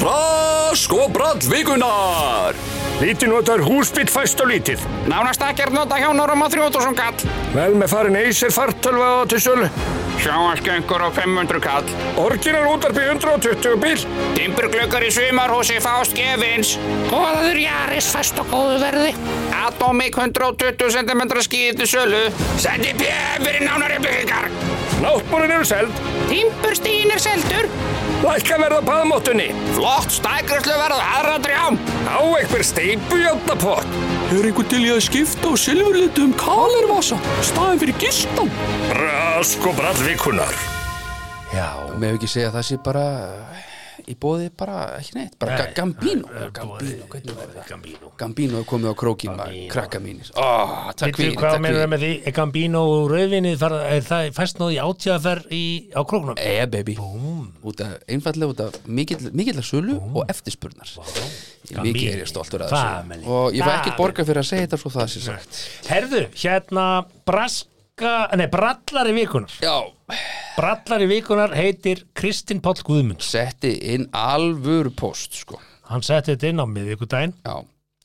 F: Rask og brall vikunar
E: Lítið notar húsbytt fæst og lítið.
G: Nánast ekkert nota hjá Norma 3000 kall.
E: Vel með farin Acer fartölva á til sölu.
G: Sjáasköngur og 500 kall.
E: Orginal útarpi 120 bíl.
G: Timburglöggar í sumarhúsi fást gefins. Góður Jaris fast og góðu verði. Atomic 120 cm skýði til sölu. Sendi PF fyrir nánari byggingar.
E: Náttbúrin eru seld.
G: Timburstín er seldur.
E: Lækka verða paðmóttunni.
G: Flott stækrislu verð aðra drjám.
E: Á einhver steipu játnapott.
F: Er einhver til í að skipta á silfurlitum kalervasa staðin fyrir gistan?
E: Rask og brall vikunar.
C: já,
B: Mér hef ekki segja að það sé bara eh, í bóði bara, ekki neitt, bara nei, Gambino Gambino, hvernig var það?
C: Gambino
B: Gambino er komið á krókin maður, krakka mínir oh, Takk
C: Vittu
B: fyrir,
C: hvað
B: takk
C: mennur
B: fyrir
C: með því, er Gambino og rauðvinið fara- er það fæst náði átíðaferð í, á króknum?
B: Eh, baby, út af, einfallega út af mikill- mikillar sölu og eftirspurnar Ég Mikið er ég stoltur að
C: Family.
B: þessu Og ég fæ
C: Family.
B: ekkert borga fyrir að segja þetta svo það sé sagt
C: Herðu, hérna braska, nei, brallari vikunar
B: Já,
C: brallari vikunar heitir Kristinn Páll Guðmunds
B: setti inn alvöru post, sko
C: hann setti þetta inn á miðvikudaginn
B: Já,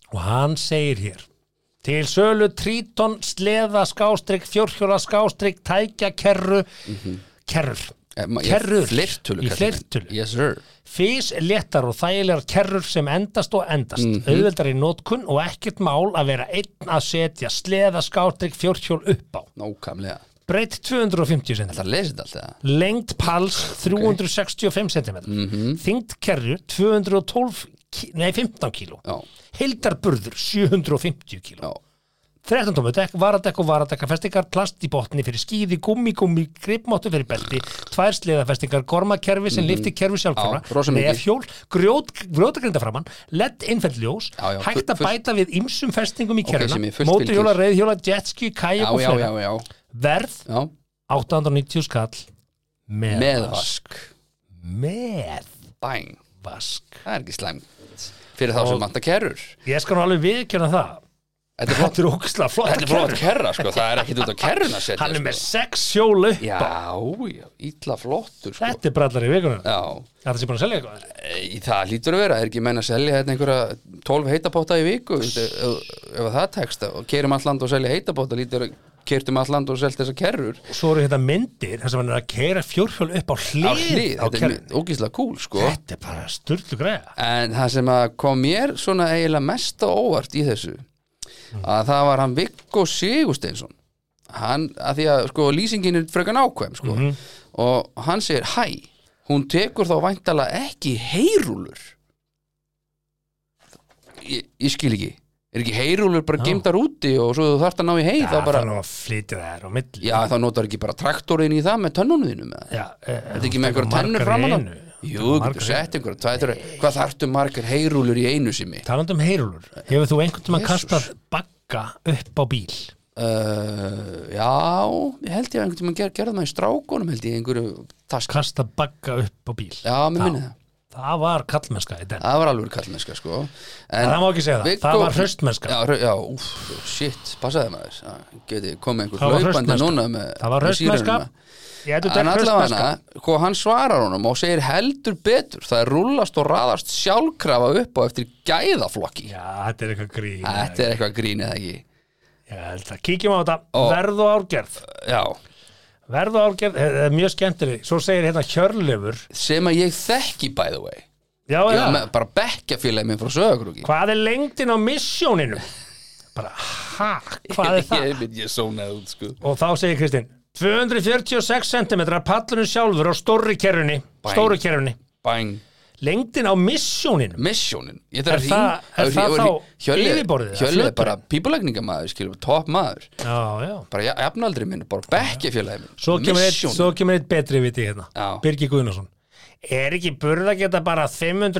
C: og hann segir hér til sölu tríton sleða skástrygg fjórhjóla skástrygg tækja kerru kerrur
B: Mhm. Eh, ma- ég-
C: Kerrur.
B: Fleirtölu
C: Í
B: kallar menn.
C: fleirtölu.
B: Yes sir
C: Fís léttar og þægilegar kerrur sem endast og endast, auðveldar í nótkun og ekkert mál að vera einn að setja sleða skáttrygg fjórhjól upp á.
B: Nákvæmlega
C: Breytt 250 cm.
B: Það lesið allt það
C: Lengt pals 365 cm. Þyngd kerru 212, ki- nei 15 kg.
B: Já,
C: Hildarburður 750
B: já,
C: kg. 13 tómu dekk, varadekk og varadekka festingar, plast í botni fyrir skýði, gummi, gummi, gripmáttu fyrir belti, tvær sleðafestingar, gormakerfi sem lifti kerfi sjálfkvara,
B: Mhm. Já, rosa mikið.
C: nefjól, grjót, grjótagrinda framann, lett innfelljós,
B: Já, já,
C: hægt að
B: full-
C: bæta við ýmsum festingum í
B: Ok,
C: kerfina,
B: sem ég fullt
C: móturhjóla,
B: fylgir.
C: reyðhjóla, jetski, kajak
B: já,
C: og
B: já,
C: fleira.
B: já, já,
C: Verð
B: já.
C: 890 skall með,
B: Með
C: vask.
B: vask
C: Með
B: Bang
C: vask.
B: Það er ekki slæmt Fyrir þá sem vantar kerrur
C: Ég skal nú alveg viðkjöna það.
B: Þetta er flott
C: Þetta er ógæslega flott
B: Þetta er flott kerra sko Það er ekkit út á kerruna að setja
C: Hann er með
B: sko.
C: sex hjólu.
B: Já, já, illa flottur sko
C: Þetta er brallar í vikunum.
B: Já,
C: Þetta sé búin að selja eitthvað.
B: e, það lítur að vera, er ekki menn að selja hérna einhverja 12 heitapóta í viku þetta- ef, ef það tekst og keirum allt land og selja heitapóta, lítur að keirtum allt land og selja þessar kerrur
C: Svo eru hérna myndir þar sem hann er að keira fjórhjól upp á hlið
B: á
C: á,
B: hlið, þetta er
C: kerfinu.
B: ógíslega cool sko
C: Þetta er bara styrlu greiða.
B: en það sem að kom mér svona eiginlega mesta óvart í þessu
C: Mm.
B: að það var hann Viggo Sigursteinsson hann, að því að sko lýsingin er frekan ákveðum sko
C: Mhm.
B: og hann segir hæ, hún tekur þá væntala ekki heyrúlur ég, ég skil ekki er ekki heyrúlur bara geimdar úti og svo þú þarft að ná í heið
C: Já,
B: þá
C: það
B: bara,
C: er nú að flytja þær á milli.
B: já þá notar ekki bara traktorinn í það með tönnunum þínum með
C: Já, eh, þetta
B: Þetta ekki með einhverja tennur framan á? Jú, þú
C: margar
B: getur
C: í
B: sett einhverja tvætur Hvað þarftu margar heyrúlur í einu simmi?
C: Talandi um heyrúlur, hefur þú einhvern tímann
B: Jesus.
C: kastað bagga upp á bíl?
B: Uh, já, ég held ég að einhvern tímann ger, gerði maður í strákunum held ég í einhverju task
C: Kastað bagga upp á bíl?
B: Já, mér minni það
C: Það var kallmennska í den.
B: Það var alveg kallmennska sko en,
C: Það má ekki segja það. Það var hraustmennska.
B: Já, hra- já úf, shit, passaði maður Já, Geti komið
C: Það
B: einhver
C: var
B: hlaupandi
C: hraustmennska.
B: núna með,
C: Það var
B: með
C: hraustmennska.
B: sírununa.
C: Ég ætla
B: hérna. En
C: þetta hraustmennska.
B: allavega, hvað hann svarar honum og segir heldur betur Það er rúllast og raðast sjálfkrafa upp á eftir gæðaflokki
C: Já, þetta er eitthvað grín.
B: Þetta er eitthvað grín eða ekki
C: Ég held það. Kíkjum á þetta.
B: Ó.
C: Verð og árgerð.
B: Já,
C: Verð og árgerð, eh, eh, mjög skemmtileg. Svo segir hérna Hjörlefur.
B: sem að ég þekki by the way
C: Já,
B: ég,
C: já.
B: með, Bara bekkjafélagi minn frá sögakrúki
C: Hvað er lengdin á missjóninu? Bara, ha, hvað er það?
B: Ég mynd ég sónaði út sko
C: Og þá segir Kristinn, 246 cm pallurinn sjálfur á stórri kerrunni. Stóru kerrunni.
B: Bang
C: Lengdin á missjóninu.
B: Missionin Ég þarf
C: Er
B: að
C: það- er
B: hring-
C: það
B: ég- ég-
C: þá
B: Hjölli-
C: yfirborðið, eða
B: Hjölli er
C: flöturinn?
B: bara pípulækningamæður skilur Top maður
C: Já, já.
B: Bara ja- jafnaldri minn Bara bekkjafélagi minn
C: Svo kemur, eitt,
B: Missionin.
C: svo kemur eitt betri viti hérna
B: Já.
C: Birgir Guðnason Er ekki burðargeta bara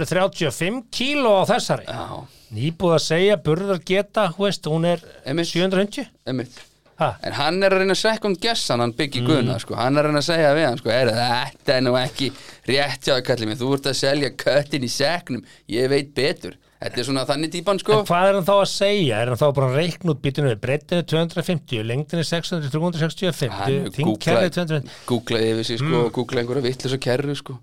C: 535 kíló á þessari?
B: Já,
C: Nýbúð að segja burðargeta, þú veist, hún er
B: Einmitt.
C: 750
B: einmitt
C: ha,
B: En hann er að reyna að second guess hann, hann
C: Mm.
B: byggi guðna, sko, hann er að reyna að segja við hann, sko, er þetta er nú ekki rétt hjá kallið mér, þú ert að selja köttin í segnum, ég veit betur, þetta er svona þannig típan, sko,
C: En hvað er hann þá að segja? Er hann þá bara að reikna út býtinu við breytinu 250, lengdinu 600, 365,
B: hann
C: þingkerri 250
B: googlaði yfir sig,
C: Mm.
B: sko, og googlaði einhverja vittlis og kerru, sko,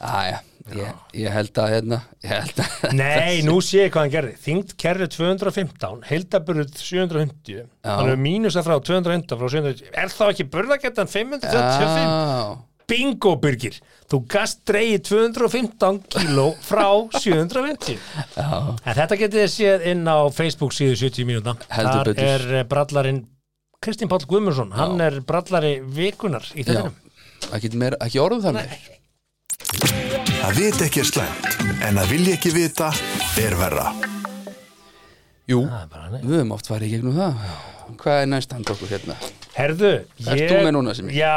B: aðja, ég, ég held að, hérna, ég held að,
C: Nei, nú sé ég hvað hann gerði Þingt kerri 215, heildaburð 750 Hann er mínus að frá 200 frá 750 Er þá ekki burðargetan 535?
B: Já.
C: Bingo Birgir, þú gast dreigið 215 kíló frá 750 En þetta getið þið séð inn á Facebook síðu 70 mínúta
B: Heldur
C: Þar
B: betur.
C: er eh, brallarinn Kristín Páll Guðmundsson, hann er brallari vikunar í
B: já,
C: þettinum
B: ekki, meira, ekki orðum þannig,
A: Að vita ekki er slæmt, en að vilja ekki vita er verra.
B: jú,
C: Það er bara þannig.
B: við höfum oft farið í gegnum það, hvað er næst handa okkur hérna,
C: Herðu,
B: Ert
C: ég,
B: þú með núna, Simmi?
C: Já,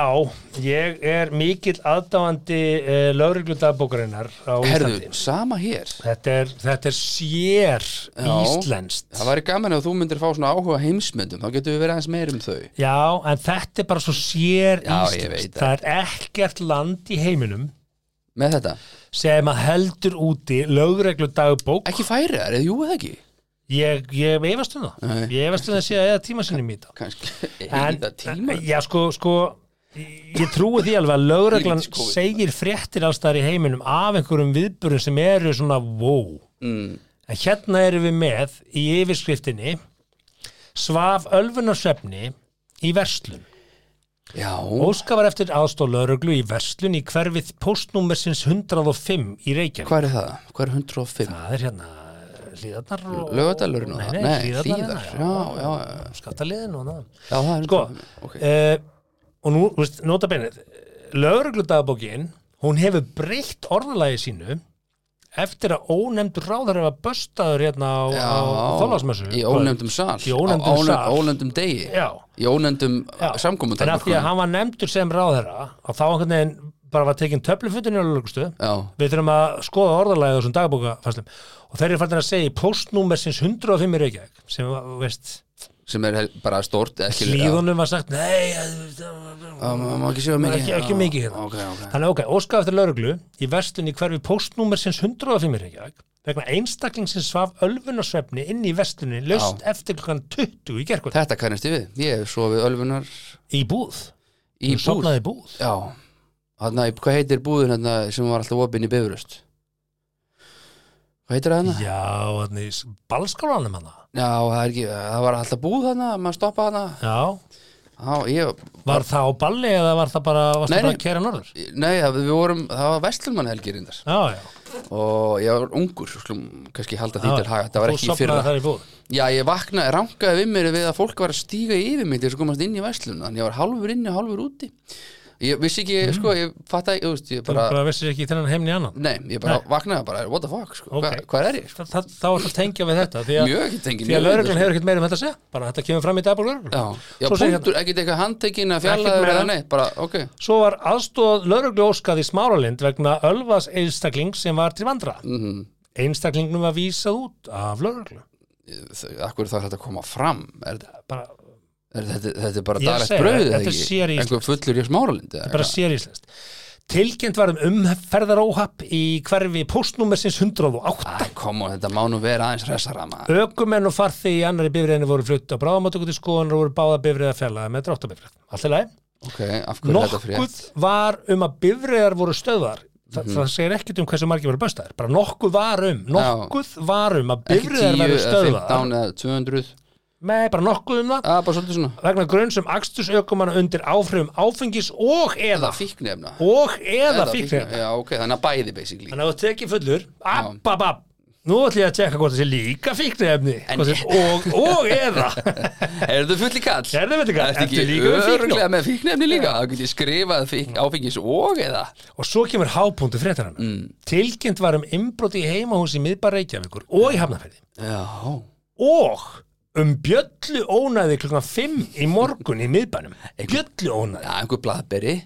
C: ég er mikill aðdáandi uh, lögregludagbókarinnar á
B: herðu,
C: Íslandi
B: sama hér,
C: Þetta er, þetta er sér íslenskt
B: Það væri gaman ef þú myndir fá svona áhuga á heimsmyndum þá getum við verið aðeins meir um þau
C: Já, en þetta er bara svo sér
B: Já, ég
C: íslenskt.
B: veit það.
C: Það er ekkert land í heiminum
B: með þetta,
C: sem að heldur úti lögreglu dagbók.
B: ekki færi þar, eða jú eða ekki
C: Ég, ég efast um það.
B: Nei.
C: Ég efast um það sé að eða tíma sinni mýta.
B: kannski, eða tíma
C: Já, sko, sko, ég trúi því alveg að lögreglan
B: Þvílíkt skói.
C: segir fréttir allstaðar í heiminum af einhverjum viðburðum sem eru svona wow.
B: mm,
C: En hérna erum við með í yfirskriftinni svaf ölfunarsvefni í verslun.
B: Já,
C: Óska var eftir aðstóð lögreglu í verslun í hverfið postnúmersins 105 í Reykjavík.
B: hvað er það? Hvað er 105?
C: Það er hérna hlýðarnar og...
B: Laugardalurinn og
C: Nei, hérna,
B: það?
C: nei,
B: Nei,
C: hlýðarnar.
B: Hlíðar, já, já, já.
C: Skattaliðin og það.
B: Já, það er
C: Sko,
B: 105, ok.
C: eh, og nú, þú veist, nota beinið, lögregludagbókin, hún hefur breytt orðalagi sínu eftir að ónefndur ráðar hefa böstaður hérna á,
B: Já,
C: á þólasmessu.
B: Í ónefndum sal
C: Í ónefndum
B: Á ónef-
C: sal.
B: Ónefndum degi
C: Já.
B: Í ónefndum
C: Já. En af því að
B: samkomundarmörkum
C: hann var nefndur sem ráðherra að þá einhvern veginn bara var tekin töflufundin í lögreglustu.
B: Já,
C: Við þurfum að skoða orðalagið á þessum dagbókafæslum og þeir eru færdin að segja í póstnúmer sinns 105 í Reykjavík sem var, þú veist,
B: sem er hel- bara stort ekki-
C: hlýðunum var sagt nei, það var-
B: Já, maður má ekki séu mikið
C: ekki, ekki
B: Já,
C: mikið hérna
B: ok, ok.
C: þannig ok, óskað eftir lauruglu í verslun í hverfi póstnúmer sinns 105 í Reykjavík vegna einstakling sem svaf ölfunarsvefni inn í verslunni löst eftir klukkan 20 í gerkvöld
B: Þetta kannast ég við, ég hef sofið ölfunar
C: í búð,
B: í
C: Þú
B: búð
C: sofnaði í búð
B: Já, hann að, hvað heitir búðin hann sem var alltaf opinn í Bifröst? Hvað heitir það hann?
C: já, þannig í ballskálanum hann
B: Já, það er ekki, það var alltaf búð hann maður stoppa hann
C: já,
B: Já, ég,
C: var það á balli eða var það bara, varstu
B: Nei,
C: bara
B: nei.
C: að kæra norður já,
B: nei, það- við vorum, það var Vestlmann helgi reyndar
C: já,
B: og ég var ungur, slum, kannski halda því
C: já.
B: til haga, það var
C: Þú
B: ekki í
C: sofnaði
B: fyrra
C: þar í búð
B: Já, ég vaknaði, rankaði við mér við að fólk var að stíga yfir mig til þess að komast inn í verslun þannig ég var hálfur inni, hálfur úti Ég vissi ekki, sko, ég fatta ég, veist, ég
C: Mm. þú
B: bara,
C: bara vissir ekki þennan heimni annan
B: nei, ég bara
C: Nei.
B: vaknaði bara, what the fuck, sko,
C: Ok.
B: okay. hvað er ég?
C: Þa- það- þá er það tengja við þetta því að,
B: Mjög ekki tengja,
C: því að
B: mjög
C: lauruglan
B: auðvelt.
C: hefur ekkert meira um þetta að segja bara þetta kemur fram í dagbúr lauruglu
B: Já, já punktur, ekkert eitthvað handtekin að fjallaður
C: meira.
B: eða neitt, bara, ok
C: Svo var aðstóð lauruglu óskað í smáralind vegna Ölvas einstakling sem var til vandra.
B: Mhm.
C: Einstaklingnum var vísað út af lauruglu.
B: Þau- Akkur þarf þetta að koma fram er,
C: Bara,
B: er, þetta, þetta er bara
C: Ég
B: daglegt
C: segi,
B: brauð
C: þetta er séríslenskt.
B: Einhver fullur í smáralind eða
C: bara
B: eitthvað?
C: séríslest. Tilkynnt var um umferðaróhapp í hverfi póstnúmersins 108.
B: Æ, kom og þetta má nú vera aðeins hressara maður
C: Ökumenn og farþegi í annari bifriðinni voru flutt á bráðamáttöku til skoðan og voru báða bifriða fjallaði með dráttabifrið. Allt í lagi.
B: Ok, af hverju er þetta
C: Nokkuð
B: frétt?
C: var um að bifriðar voru stöðvar. Þa,
B: Mhm.
C: Það segir ekkert um hversu margir voru böstaðir. Bara nokkuð var um, nokkuð var um að
B: Ekki 10
C: bifriðar verið
B: eða
C: stöðvar.
B: 15 eða 200
C: Nei, bara nokkuð um það
B: Það er bara svolítið svona
C: vegna grunn sem akstusaukumanna undir áhrifum áfengis og eða
B: Eða fíknefna
C: og eða fíknir
B: Já, ok, þannig að bæði basically
C: þannig að þú tekið fullur app, app, app nú ætlum ég að tjekka hvort það sé líka fíknefni
B: En-
C: hvort þessi- og, og eða
B: Er þetta fulli kall?
C: Er þetta fulli kall?
B: Ertu
C: Ertu líka
B: ekki
C: með fíkn?
B: öruglega með fíknefni líka? Það getur skrifað fík, áfengis og eða
C: og svo kemur hápunktu fréttarann mm. tilkynnt var um innbroti í heimahús í miðbar Reykjavíkur og í Hafnarferði
B: Já,
C: og um bjöllu ónæði klukkan 5 í morgun í miðbænum bjöllu ónæði
B: já einhver blaðberi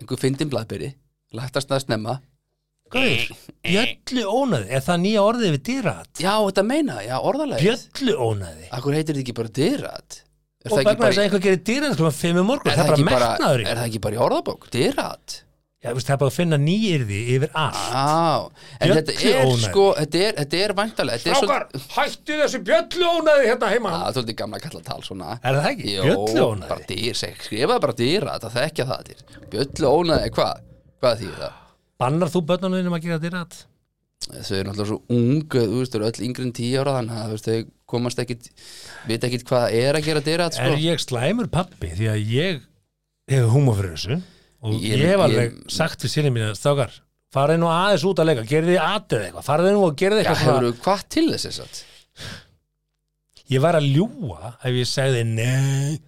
B: Einhver fyndin blaðberi Lættast að snemma
C: bjöllu ónæði, er það nýja orðið við dýrat
B: Já, þetta meina, já, orðalega
C: bjöllu ónæði
B: Akkur heitir þetta ekki bara dyrat? Er
C: og
B: það
C: vegna
B: ekki bara,
C: þess að einhver gerir dýrinn klukkan 5 morgun,
B: er
C: það er
B: ekki
C: bara metnaður í
B: er það ekki bara í orðabók? Dyrat?
C: Já, þú veist, það er bara að finna nýyrði yfir
B: Ah,
C: allt
B: Já, en þetta
C: Bjöllu
B: er
C: ónæði.
B: sko, þetta er, þetta er væntalega Þetta er
C: Strákar, hættu þessu bjöllu ónæði hérna heima
B: Það er svolítið gamla kalla tal svona
C: Er það ekki?
B: Jó, bara
C: Bjölluónæði
B: dýr, seg- skrifaðu bara dýra þetta þekkja það til Bjöllu ónæði, hvað? Hvað þýðir það?
C: Bannar þú börnunum að gera dýrat?
B: Þau eru náttúrulega svo ung, þú veist, þau eru öll yngri en tíu ára þannig að þú veist, þau komast ekkit vita ekkit hvað það er að gera dýra þetta
C: Er
B: sko
C: ég slæmur pappi því að ég hefur húma fyrir þessu og
B: Ég-
C: ég, hef alveg
B: ég-
C: sagt við sinni mín að strákar farið nú aðeins út að leika, gerði þið atrið eitthvað farið nú og gerði
B: Já,
C: eitthvað
B: hefur
C: svona
B: þú hvað til þess þess að?
C: Ég var að ljúga ef ég segði nei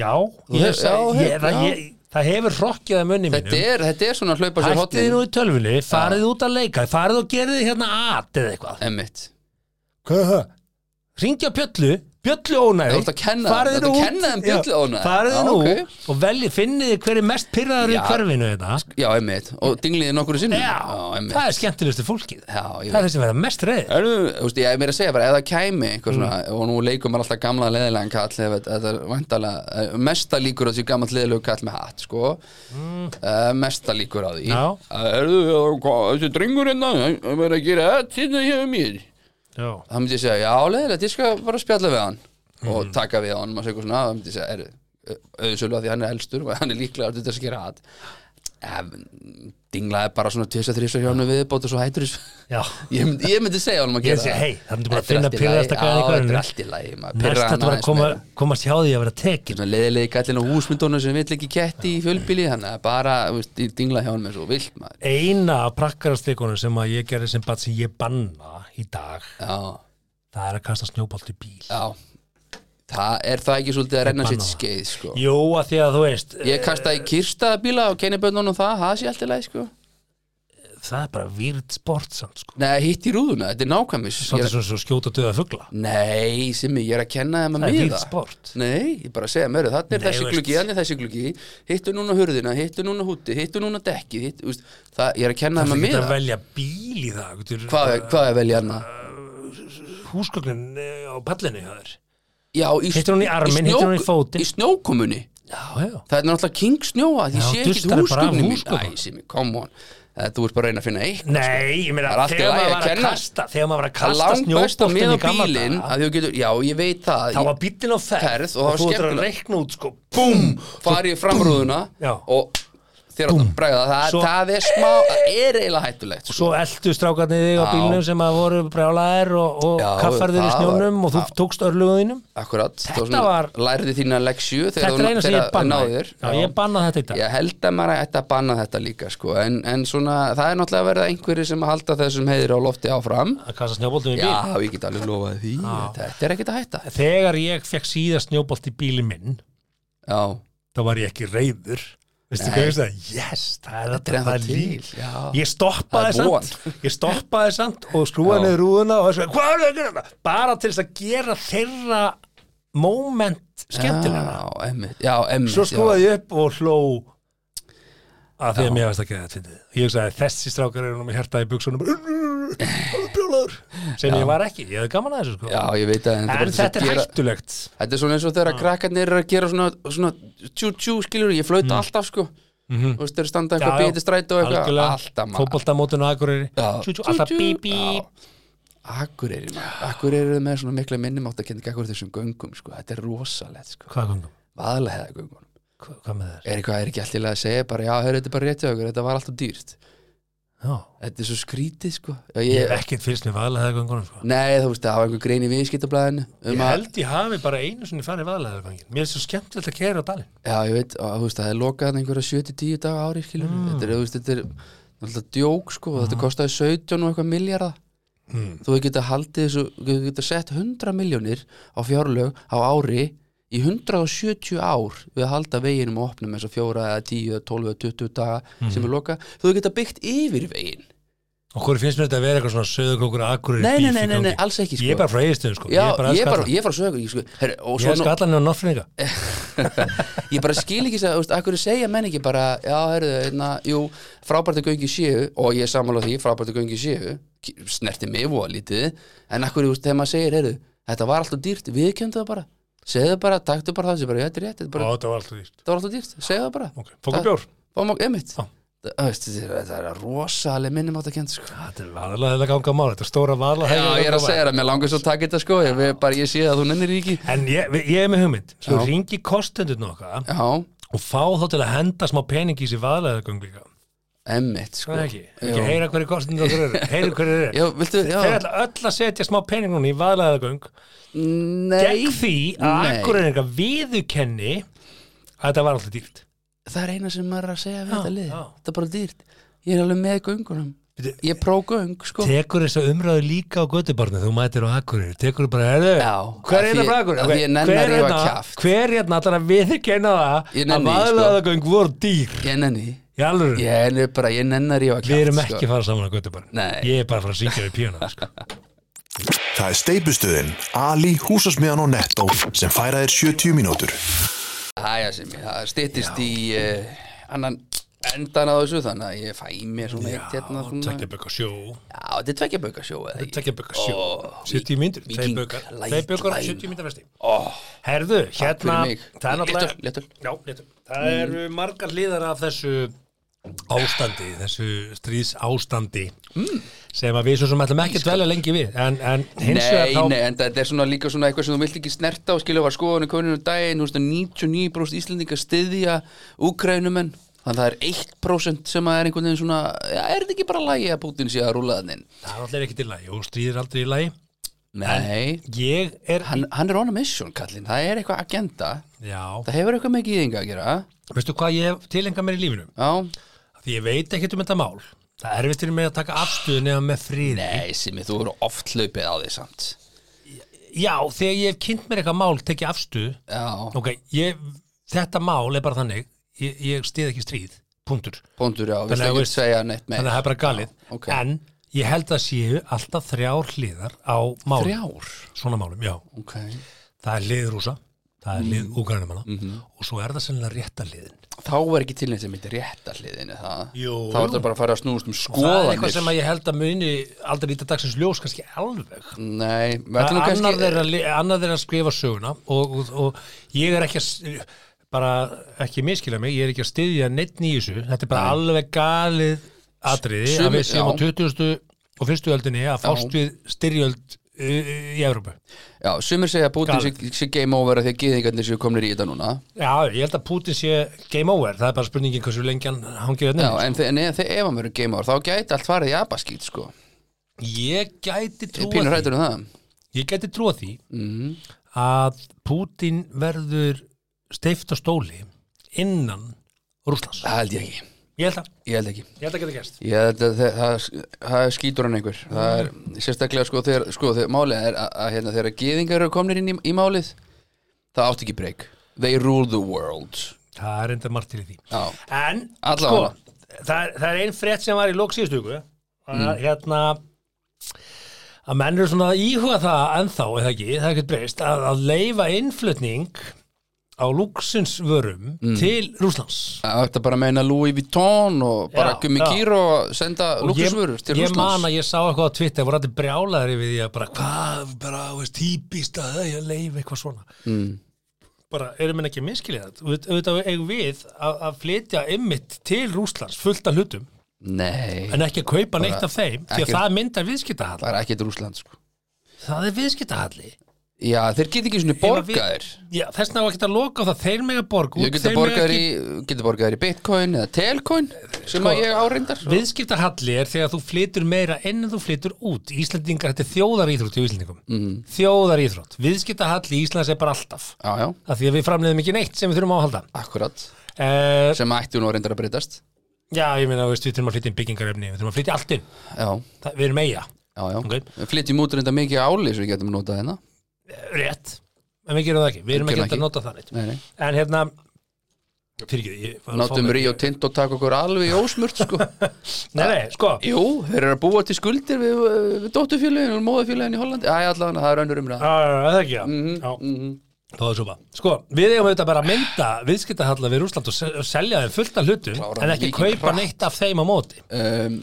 C: Já,
B: hefur-
C: ég hef
B: já,
C: sagði ég,
B: hef-
C: það,
B: já.
C: ég, það hefur hrokkið að munni mínum
B: Þetta er, þetta er svona að hlaupa sér
C: Hættið þið um- nú
B: hotnin
C: í tölvunni, farið út að leika farið og gerðið hérna at eða eitthvað
B: Emmitt
C: Hvað er það? Ringja bjöllu, bjöllu ónæði
B: Þú ert að kenna þeim, þú ert að kenna þeim bjölluónæði.
C: Farið
B: Já,
C: þið nú
B: ok.
C: og veljið, finnið þið hver er mest pyrraður í
B: Já.
C: hverfinu þetta
B: Já, emmitt, og dingliði nokkru sinnum
C: Já,
B: emmitt
C: það er skemmtilegustu fólkið
B: Já, ég
C: Það er
B: veit.
C: þessi verða mest reyð
B: Erðu, þú veist, ég er meira að segja bara, ef það kæmi einhver svona, og nú leikur maður alltaf gamla leðilegan kall, ef þetta þetta er vandalega mesta líkur á því gamla leðilegu kall með hatt, sko Eh, mesta líkur á því Eh,
C: Já.
B: Erðu, þessi drengur hérna hann verður að gera þetta hérna hjá mér
C: Já,
B: þá myndi ég segja, já, leðilegt, ég skal bara spjalla við hann og taka við hann, maður segja eitthvað svona þá myndi ég segja, erðu, auðvitað því hann er elstur og hann er líklega að þetta skera hatt Eh, dinglaði bara svona tvisa þrísa hjá hann við bóta svo hættur þessu
C: Já.
B: Ég myndi, ég myndi segja honum að
C: Ég
B: gera
C: segi,
B: það
C: hey, það myndi bara
B: Þetta er
C: finna
B: allt í
C: pirraðasta
B: lagi.
C: gæjann í
B: Já,
C: hverfinu.
B: Þetta er allt í lagi maður
C: Næst
B: pirrar
C: þetta
B: hann
C: var að
B: aðeins
C: koma,
B: meira.
C: komast hjá því að vera tekin
B: Svona leiðilegi gallin og húsmyndunum sem vill ekki ketti í fjölbili þannig að bara þú veist, í dingla hjá hann með svo vilt maður
C: Eina af prakkarasteikunum sem að ég gerði sem bat sem ég banna í dag
B: Já,
C: það er að kasta snjóbolt í bíl
B: já Það er það ekki svolítið að renna
C: banna
B: sitt
C: það.
B: skeið sko.
C: Jú, að því að þú veist
B: Ég kastaði kyrstaðabíla og kenniböndunum það, það sé allt í lagi sko.
C: það er bara výrt sport samt sko
B: Nei, hitt í rúðuna, þetta er nákvæmis Ég
C: Svolítið
B: er-
C: svona svo skjóta döða fugla
B: Nei, Simmi, ég er að kenna þeim að
C: Það er
B: miða
C: víld sport.
B: Nei, ég bara að segja mér Þannig er
C: Nei,
B: þessi
C: veist.
B: gluggi, þannig er þessi gluggi Hittu núna hurðina, hittu núna húti, hittu núna dekki hitt, úst, það, Ég er að kenna
C: Það
B: þeim að
C: er ekki að
B: miða
C: velja bíl í það getur, Eh,
B: Hvað, er- hvað er velja hana?
C: Húsgögnin eh, á pallinu hjá þér
B: Já, í,
C: Hittir hún í arminn, hittir hún í fótinn.
B: Í snjókomunni
C: Já, já
B: Það er náttúrulega king snjóa Því
C: Já,
B: sé ekki
C: dustar bara af
B: húsgögnum mín
C: húsgögnum.
B: Æ, Simmi, come on Eh, Þú ert bara að reyna að finna eitt
C: Nei, ég meina
B: Það er allt í
C: þegar
B: lagi að
C: maður var að
B: kenna.
C: kasta þegar maður var að
B: Það
C: kasta
B: langbæst að
C: snjóboltin
B: miða
C: í gamla
B: bílinn
C: daga
B: að þú getur, Já, ég veit það
C: þá
B: Ég-
C: var bíllinn á ferð,
B: Ferð og það
C: og,
B: var
C: þú ert að
B: skemmtilegt.
C: reikna út sko BOOM
B: fari í framrúðuna
C: Já.
B: og þeir átt að bregða það,
C: Svo-
B: það er smá, það er eiginlega hættulegt sko.
C: Svo eldu strákarnir þig á
B: Já.
C: bílnum sem að voru brjálæðir og, og
B: Já,
C: kaffarðir í
B: það var-
C: snjónum og þú
B: já.
C: tókst örluguðinum
B: Akkurat,
C: Þetta var-
B: lærði þína leksju þegar
C: Þetta er eina sem ég banna
B: náður
C: Já, ég banna þetta í dag
B: Ég held að maður ætti að banna þetta líka sko. en, en svona, það er náttúrulega að verða einhverjir sem að halda þessum heiðir á lofti áfram
C: að kasta snjóboltum í
B: Já,
C: bíl
B: ég get alveg lofað því Þetta er ekkert að hætta
C: Þegar ég fekk síða snjóbolt í bíli minn
B: Já,
C: þá var ég ekki reyður Veistu
B: Nei.
C: hvað ég sagði? Yes, það er
B: er
C: þetta,
B: ennþá
C: það er líf
B: til, já.
C: Ég stoppaði
B: Það er von.
C: samt Ég stoppaði samt og skrúaði niður rúðuna og sagði, hvað er það að gera þetta? Bara til þess að gera þeirra moment skemmtilega
B: já, emmitt Já, emmitt
C: Svo skrúaði ég upp og hló að því að mér varst að geða þetta fyndið Ég hugsaði þessi strákar eru nú með hérta í buksunum brjólaður sem ég var ekki, ég hefði gaman að þessu sko
B: Já, ég veit að bara
C: En
B: til þess að
C: þetta er
B: gera-
C: hættulegt
B: Þetta er svona eins og þegar krakkarnir eru að gera svona, svona tjú tjú skilur, ég flauta alltaf sko Þú veist, þeir standa eitthvað býti stræti og eitthvað Alltaf maður
C: Fótboltamótinu Akureyri
B: Já.
C: Tjú, tjú, Alltaf
B: Tjú, tjú.
C: bíp bíp
B: Akkur eru maður, akkur eru með svona mikla minnum átt að kenna akkur þessum göngum sko Þetta er rosalegt sko,
C: Hvað gangum?
B: vaðlega göngunum
C: Hva, hvað með þér?
B: Er eitthvað, er ekki allt í lagi að segja bara, já, heyrðu, þetta er bara rétt hjá okkur, þetta var alltaf dýrt
C: Já.
B: Þetta er svo skrítið sko já,
C: Ég
B: ég,
C: hef ekkert fyrst með vaðlaðegöngunum sko.
B: Nei, þú veist, það var einhver grein í viðskiptablaðinu um
C: Ég
B: að-
C: held ég hafi bara einu sinni farið vaðlaðegöngin Mér er svo skemmtilegt að kæra á dalinn
B: Já, ég veit, að, þú veist, það er lokað þarna einhverja 7-10 daga ári, skilur
C: Mm.
B: Þetta er, þú veist, þetta er náttúrulega djók, sko Þetta kostaði 17 og eitthvað miljarda mm. Þú geta haldið þessu, þú geta sett 100 miljónir á fjárlög á ári í 170 ár við að halda veginum og opnum eins og fjóra eða 10 eða 12 eða 20 daga
C: Mm.
B: sem er lokað, þú geta byggt yfir vegin
C: Og hverju finnst mér þetta að vera eitthvað svona söðukrókur Akureyri
B: Nei, nei,
C: bíf í
B: nei, nei,
C: gangi?
B: nei, alls ekki, sko.
C: Ég er bara frá eigistöðum sko
B: Já,
C: Ég er
B: ég er
C: bara elska
B: bara,
C: allan.
B: ég er bara sögur, ég sko Her, og
C: Ég
B: svo
C: er skallan og noffringa
B: ég bara skil ekki það, þú veist, akkur segja menn ekki bara, já, heyrðu, einna, jú, frábært að göngi séu, og ég er sammála því, frábært að göngi séu, snerti mig voða lítið, en akkur, þú veist, þegar maður segir, heyrðu, þetta var alltaf dýrt, viðkjöndu það bara, segðu bara, taktu bara það sem bara, "Já, þetta er rétt, þetta er
C: Ó,
B: bara,
C: þetta var alltaf dýrt
B: það var alltaf dýrt, segðu það bara.
C: Ok, fókum bjór
B: Fáum okkur, emitt.
C: Já.
B: Það veist, þetta er- þetta er rosaleg minnum átt að kenda, sko.
C: Þetta er vaðlaðegönga mál, þetta er stóra
B: Já, ég er að
C: vaðlaðegönga
B: segja það, mér langar svo að taka þetta, sko, ég, við- bara, ég sé að þú nennir því ekki.
C: En ég, ég er með hugmynd Svo
B: Já.
C: ringi kostendur nokka
B: Já,
C: og fá þá til að henda smá pening í sér vaðlaðegöng líka
B: einmitt, sko.
C: Það er ekki,
B: Jú.
C: ekki heyra hverju kostnir okkur eru, heyra hverju eru
B: Já, viltu, já.
C: Þeir ætla öll að setja smá pening núna í vaðlæðagöng
B: Nei.
C: gegn því að
B: Nei.
C: akkurreininga viðukenni að þetta var alltaf dýrt
B: það er eina sem maður er að segja við
C: Já,
B: þetta lið
C: já.
B: þetta er bara dýrt, ég er alveg með göngunum
C: Bíddu,
B: ég er prógöng sko
C: Tekur þess að umræðu líka á götubarni þú mætir á akkurreinu, tekur þú bara herðu,
B: Já, af
C: hver er það
B: því-
C: frá akkurreinu?
B: af því ég nenni að
C: hver
B: rífa
C: hérna,
B: kjaft.
C: hver hérna allar að viðukenna
B: Ég nenni
C: það að
B: því, sko.
C: vaðlæðagöng voru dýr
B: ég nenni,
C: í alveg,
B: ég nenni bara ég nenni að rífa kjátt
C: við erum ekki að fara saman á götubarni
B: Nei.
C: ég er bara að fara að syngja við píuna sko.
A: Það er steipustöðin, Ali, húsasmiðan og Netto sem færa þér 70 mínútur.
B: Æja, sem ég, sko. það styttist í uh, annan endan á þessu þannig að ég fæ mér svona eitt hérna
C: og
B: svona
C: tekja bökk á sjó
B: já, þetta er tvekja bauka sjó eða
C: Tvekja bökar, sjö.
B: Ó,
C: 70 myndir,
B: Víking,
C: tvei bökar, tvei
B: Light
C: bökar,
B: Line.
C: 70 myndir vesti.
B: ó,
C: Herðu, hérna,
B: fyrir mig. Mm.
C: það er náttúrulega...
B: Léttul, léttul.
C: Já, léttul. Það eru margar hliðar af þessu ástandi, þessu stríðs ástandi,
B: Mm.
C: sem að við svo sem ætlum ekki að dvelja lengi við, en, en hins
B: Nei,
C: vegar þá...
B: nei, en þetta er svona líka svona eitthvað sem þú vilt ekki snerta og skilja var skoðunni koninu daginn, þú veist að 99 brúst Íslendinga styðja Ukrænumenn, þannig að það er 1% sem að er einhvern veginn svona já, er þetta ekki bara lægi að Putin sé að rúla þannig
C: Það er allir ekkert í lagi og stríð er aldrei í lagi
B: nei,
C: Ég er,
B: hann, hann er on a mission kallinn, það er eitthvað agenda
C: já,
B: það hefur eitthvað með gýðinga að gera
C: veistu hvað ég hef tilengað mér í lífinu?
B: já,
C: Því ég veit ekkert um þetta mál Það er erfitt fyrir mig að taka afstöðu nefn með fríði
B: nei, Simi, þú eru oft hlaupið á því samt
C: Já, þegar ég hef kynnt mér eitthvað mál tekið afstöðu
B: já,
C: Ok, ég, þetta mál er bara þannig Ég, ég stið ekki stríð, punktur
B: bóndur já,
C: Þannig
B: við
C: að
B: ekki
C: veist-
B: segja neitt
C: Þannig að
B: með
C: það er bara galið
B: ok.
C: En ég held að séu alltaf þrjár hliðar á mál
B: þrjár,
C: Svona málum, já
B: ok
C: Það er lið rúsa, það er
B: Mm.
C: lið úgrænumanna
B: Mhm.
C: Og svo er það sennilega rétta liðin
B: þá er ekki til neitt sem heitir rétta hliðinu það
C: Jú.
B: þá er þetta bara að fara að snúast um
C: Það er eitthvað
B: skoðanir
C: sem að ég held að muni aldrei líta dagsins ljós kannski alveg
B: nei, við ætlum nú
C: annar
B: kannski
C: þeirra, li- annað þeirra skrifa söguna og, og, og ég er ekki að s- bara ekki miskila mig, ég er ekki að styðja neitt í þessu, þetta er bara alveg galið atriði
B: Sumir-
C: að við séum á
B: já.
C: 20. og 1. öldinni að fást við styrjöld uh, í Evrópu.
B: já, sumir segja að Putin sé,
C: Galið.
B: sé game over af því að gýðingarnir séu komnir í þetta núna
C: Já, ég held að Putin sé game over, það er bara spurningin hversu lengi hann hérna. hangið
B: já,
C: þetta.
B: en þe- en ef þeir hann verður game over þá gæti allt farið í abaskýt sko
C: Ég
B: ég
C: gæti
B: er
C: trúa
B: pínur
C: því,
B: hættur um það
C: ég gæti trúa því
B: mm.
C: að Putin verður steift á stóli innan Rússlands.
B: það held ég ekki,
C: Ég held að,
B: ég held ekki
C: ég held að geta gerst.
B: Ég held að þe- það, það skýtur hann einhver Það er sérstaklega sko þegar, sko, þegar málið er að, að hérna, þegar geðingar eru komnir inn í, í málið það átt ekki breyk They rule the world
C: Það er enda margt til í því.
B: Já,
C: En,
B: Alla
C: sko,
B: vega.
C: það er, það er einn frétt sem var í lók síðustu ykkur. Mm. Hérna, að menn eru svona að íhuga það ennþá, eða ekki, það er ekkert breyst, að, að leifa innflutning á lúksinsvörum
B: Mm.
C: til Rúslands.
B: það ætti bara að meina Louis Vuitton og bara
C: Já,
B: gummi
C: já.
B: kýr og senda lúkusvörur til
C: ég man
B: Rússlands
C: að ég sá eitthvað á Twitter voru allir brjálaðir yfir því að bara hvað, bara, þú veist, típist að það ég leif eitthvað svona mm. bara, erum við ekki miskilið það auðvitað eigum við að, að flytja ymmit til Rúslands fullt af hlutum
B: Nei,
C: en ekki að kaupa neitt af þeim því að
B: ekki-
C: það myndar viðskiptahall
B: það er ekkit Rússland sko
C: það er viðskiptahalli
B: Já, þeir geta ekki svona
C: Ef að við-
B: borgaðir
C: Já, þess vegna á ekki að loka á það, þeir mega borga
B: Ég
C: út,
B: geta
C: þeir mega
B: borgaðir
C: ekki- Sko,
B: í, geta borgaðir í Bitcoin eða Telcoin sem að ég áreindar
C: Viðskiptahalli er þegar þú flytur meira enn en þú flytur út. Íslendingar, þetta er þjóðaríþrótt í Íslendingum.
B: Mhm.
C: Mm. Þjóðaríþrótt. Viðskiptahalli í Íslands er bara alltaf.
B: Já, já,
C: Af því að við framleiðum ekki neitt sem við þurfum á að halda.
B: akkurat
C: Uh,
B: sem ætti nú reyndar að breytast
C: já, ég meina, veist, við þurfum að flytja inn byggingarefni, við þurfum að flytja allt inn.
B: Já,
C: Það, við erum eiga.
B: Já, já,
C: Ok.
B: við flytjum út reynda mikið áli sem við getum notað hérna
C: Eh, Rétt. En við gerum það ekki. Við erum
B: Gerum
C: ekki
B: ekki.
C: að nota það neitt.
B: Nei, nei.
C: En hérna, fyrir ekki, ég var að fá
B: Notum
C: mér-
B: Ríó Tint og taka okkur alveg í ósmurt sko.
C: Nei, nei, sko.
B: Jú, þeir eru að búa til skuldir við, við dóttufjölegin og móðufjölegin í Hollandi Æ, allan, það er önnur umræða
C: Já, já, já, það er ekki, já.
B: Mhm,
C: Já. Páðasúpa. Sko, við eigum auðvitað bara að mynda viðskiptahalla við Rúsland og se- og selja þeim fullt af hlutum
B: Klára
C: en ekki
B: mikið
C: kaupa
B: hratt.
C: neitt af þeim á móti.
B: um,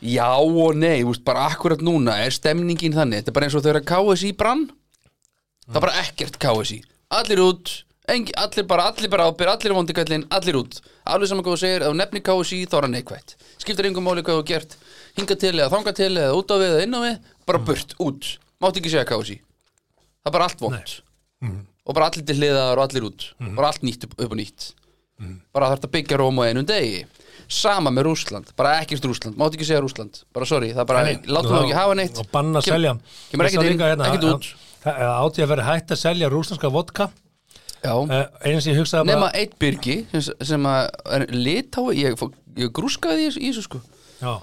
B: Já og nei, úst, bara akkurat núna er stemningin þannig Þetta er bara eins og þegar KSI brann Það er bara ekkert KSI Allir út, engi, allir bara, allir bara ábyr, allir vondikallin, allir út Alveg saman hvað þú segir, ef þú nefnir KSI þá er hann neikvætt Skiptir engum máli hvað þú hefur gert Hinga til eða þanga til eða út á við eða inn á við
C: Mm.
B: Bara burt, út, mátt ekki segja KSI Það er bara allt vond
C: Mm.
B: Og bara allir til hliðar og allir út Bara allt nýtt upp, upp og nýtt
C: Mm.
B: bara þarf að byggja Róm á einum degi sama með Rússland, bara ekkert Rússland mátt ekki segja Rússland, bara sorry það er bara, Eh, látum það ekki hafa neitt
C: Og banna að
B: Kem-
C: selja.
B: kemur
C: Ég sá
B: ekkert inn,
C: líka hérna,
B: ekkert
C: að-
B: út
C: að- að Átti að vera hægt að selja rúslandska vodka.
B: já,
C: Uh, eins ég hugsaði
B: nema
C: bara...
B: eitt byrgi sem, sem að er litái ég, fó- ég grúskaði í, þessu- í þessu sko
C: Já.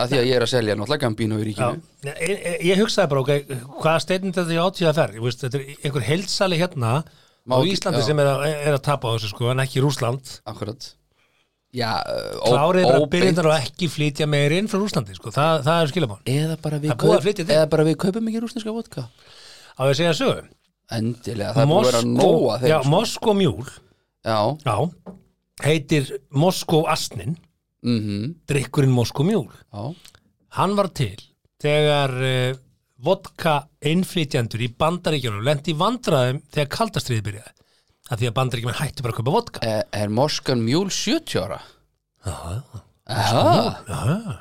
B: að því að ég er að selja náttúrulega Gambino í
C: Já,
B: ríkinu
C: Nei, ég, ég- ég hugsaði bara, ok, hvaða steinund þetta ég átíða fer, ég veist, þetta er einhver heilsali hérna
B: Má
C: á
B: ekki-
C: Íslandi
B: já.
C: sem er að, er að tapa á þessu sko, en ekki Rúsland
B: akkurat já, ö, ó-
C: klárið er að
B: óbeint.
C: byrja þar og ekki flytja meir inn frá Rúslandi, sko, það, það er skilabán
B: eða bara við
C: Það er búið að
B: kaup-
C: flytja þig.
B: eða bara við kaupum ekki rúsneska vodka
C: á ég að segja sögu
B: endilega, það er búið að vera nóa
C: já,
B: þeim sko.
C: Moskó mjúl
B: já,
C: já, heitir Moskó asnin
B: mhm,
C: drikkurinn Moskó mjúl
B: já
C: hann var til þegar uh, vodka innflytjandur í bandaríkjunum lendi í vandræðum þegar kaldastriði byrjaði að því að bandaríkjum hættu bara að köpa vodka
B: Er, er Morskan Mjúl 70 ára? Já,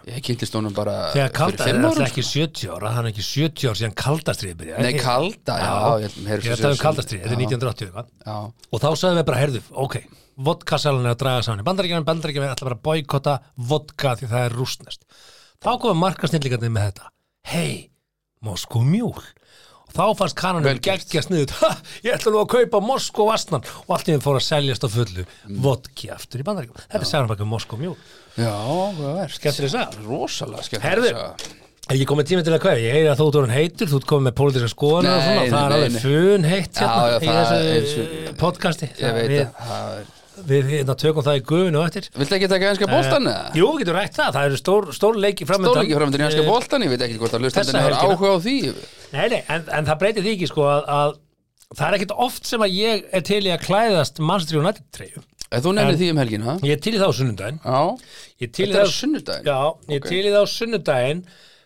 B: ég kynntist honum bara
C: þegar
B: fyrir fimm árum,
C: kaldastriði er alltaf ekki 70 ára hann er ekki 70 ára síðan kaldastriði
B: sko.
C: byrjaði
B: Nei, kalda, já,
C: Já,
B: ég
C: ég
B: held- heyrðu
C: er að
B: svo
C: tala um
B: sem-
C: kaldastriði, þetta er
B: já,
C: 1980 eitthvað
B: já,
C: og þá sagðum við bara, herðu, ok vodkasalun er að draga saman í bandaríkjum bandaríkjum er alltaf bara að boykotta vodka því það er rústnest þá komum markasnillingarnir með þetta hei, Moskó mjúl og þá fannst kananum
B: Vel gert.
C: geggja sniðut ha, ég ætla nú að kaupa Moskó vastnan og allt í þeim fór að seljast á fullu
B: Mm.
C: vodki aftur í bandaríkjum þetta er sæðan bakið Moskó mjúl
B: Já, hvað er
C: Skemmtileg saga.
B: Rosalega skemmtileg
C: Herðu,
B: saga.
C: Ég komið tíma til að kveða, ég heyri að þú ert orðin heitur, þú ert komið með pólitíska skoðanir og
B: Nei,
C: svona, það er
B: nei,
C: alveg
B: nei.
C: fun heitt
B: Já, já,
C: hérna í
B: það
C: þessu
B: er-
C: podcasti.
B: Ég
C: Það
B: veit
C: við,
B: að það er-
C: Við hérna tökum það í guðinu og eftir.
B: Viltu ekki taka enska bóltan eða?
C: Eh, Jú, við getum rætt það, það eru stór, stór leiki framöndan.
B: Stólíki framöndan í enska
C: Eh,
B: bóltan Ég veit ekki hvort að
C: Þessa
B: hlustandinn hefur
C: helgina.
B: áhuga á því
C: Nei, nei, en, en það breytir því ekki sko að, að það er ekkit oft sem að ég er til í að klæðast mannstri og nættitreyju.
B: Ef þú nefnir því um helgin, ha?
C: Ég er til í þá sunnundaginn.
B: Já,
C: Ég til í
B: Þetta er
C: þá-
B: á sunnudaginn?
C: Já, ég
B: Ok.
C: okay. til í þá sunnudaginn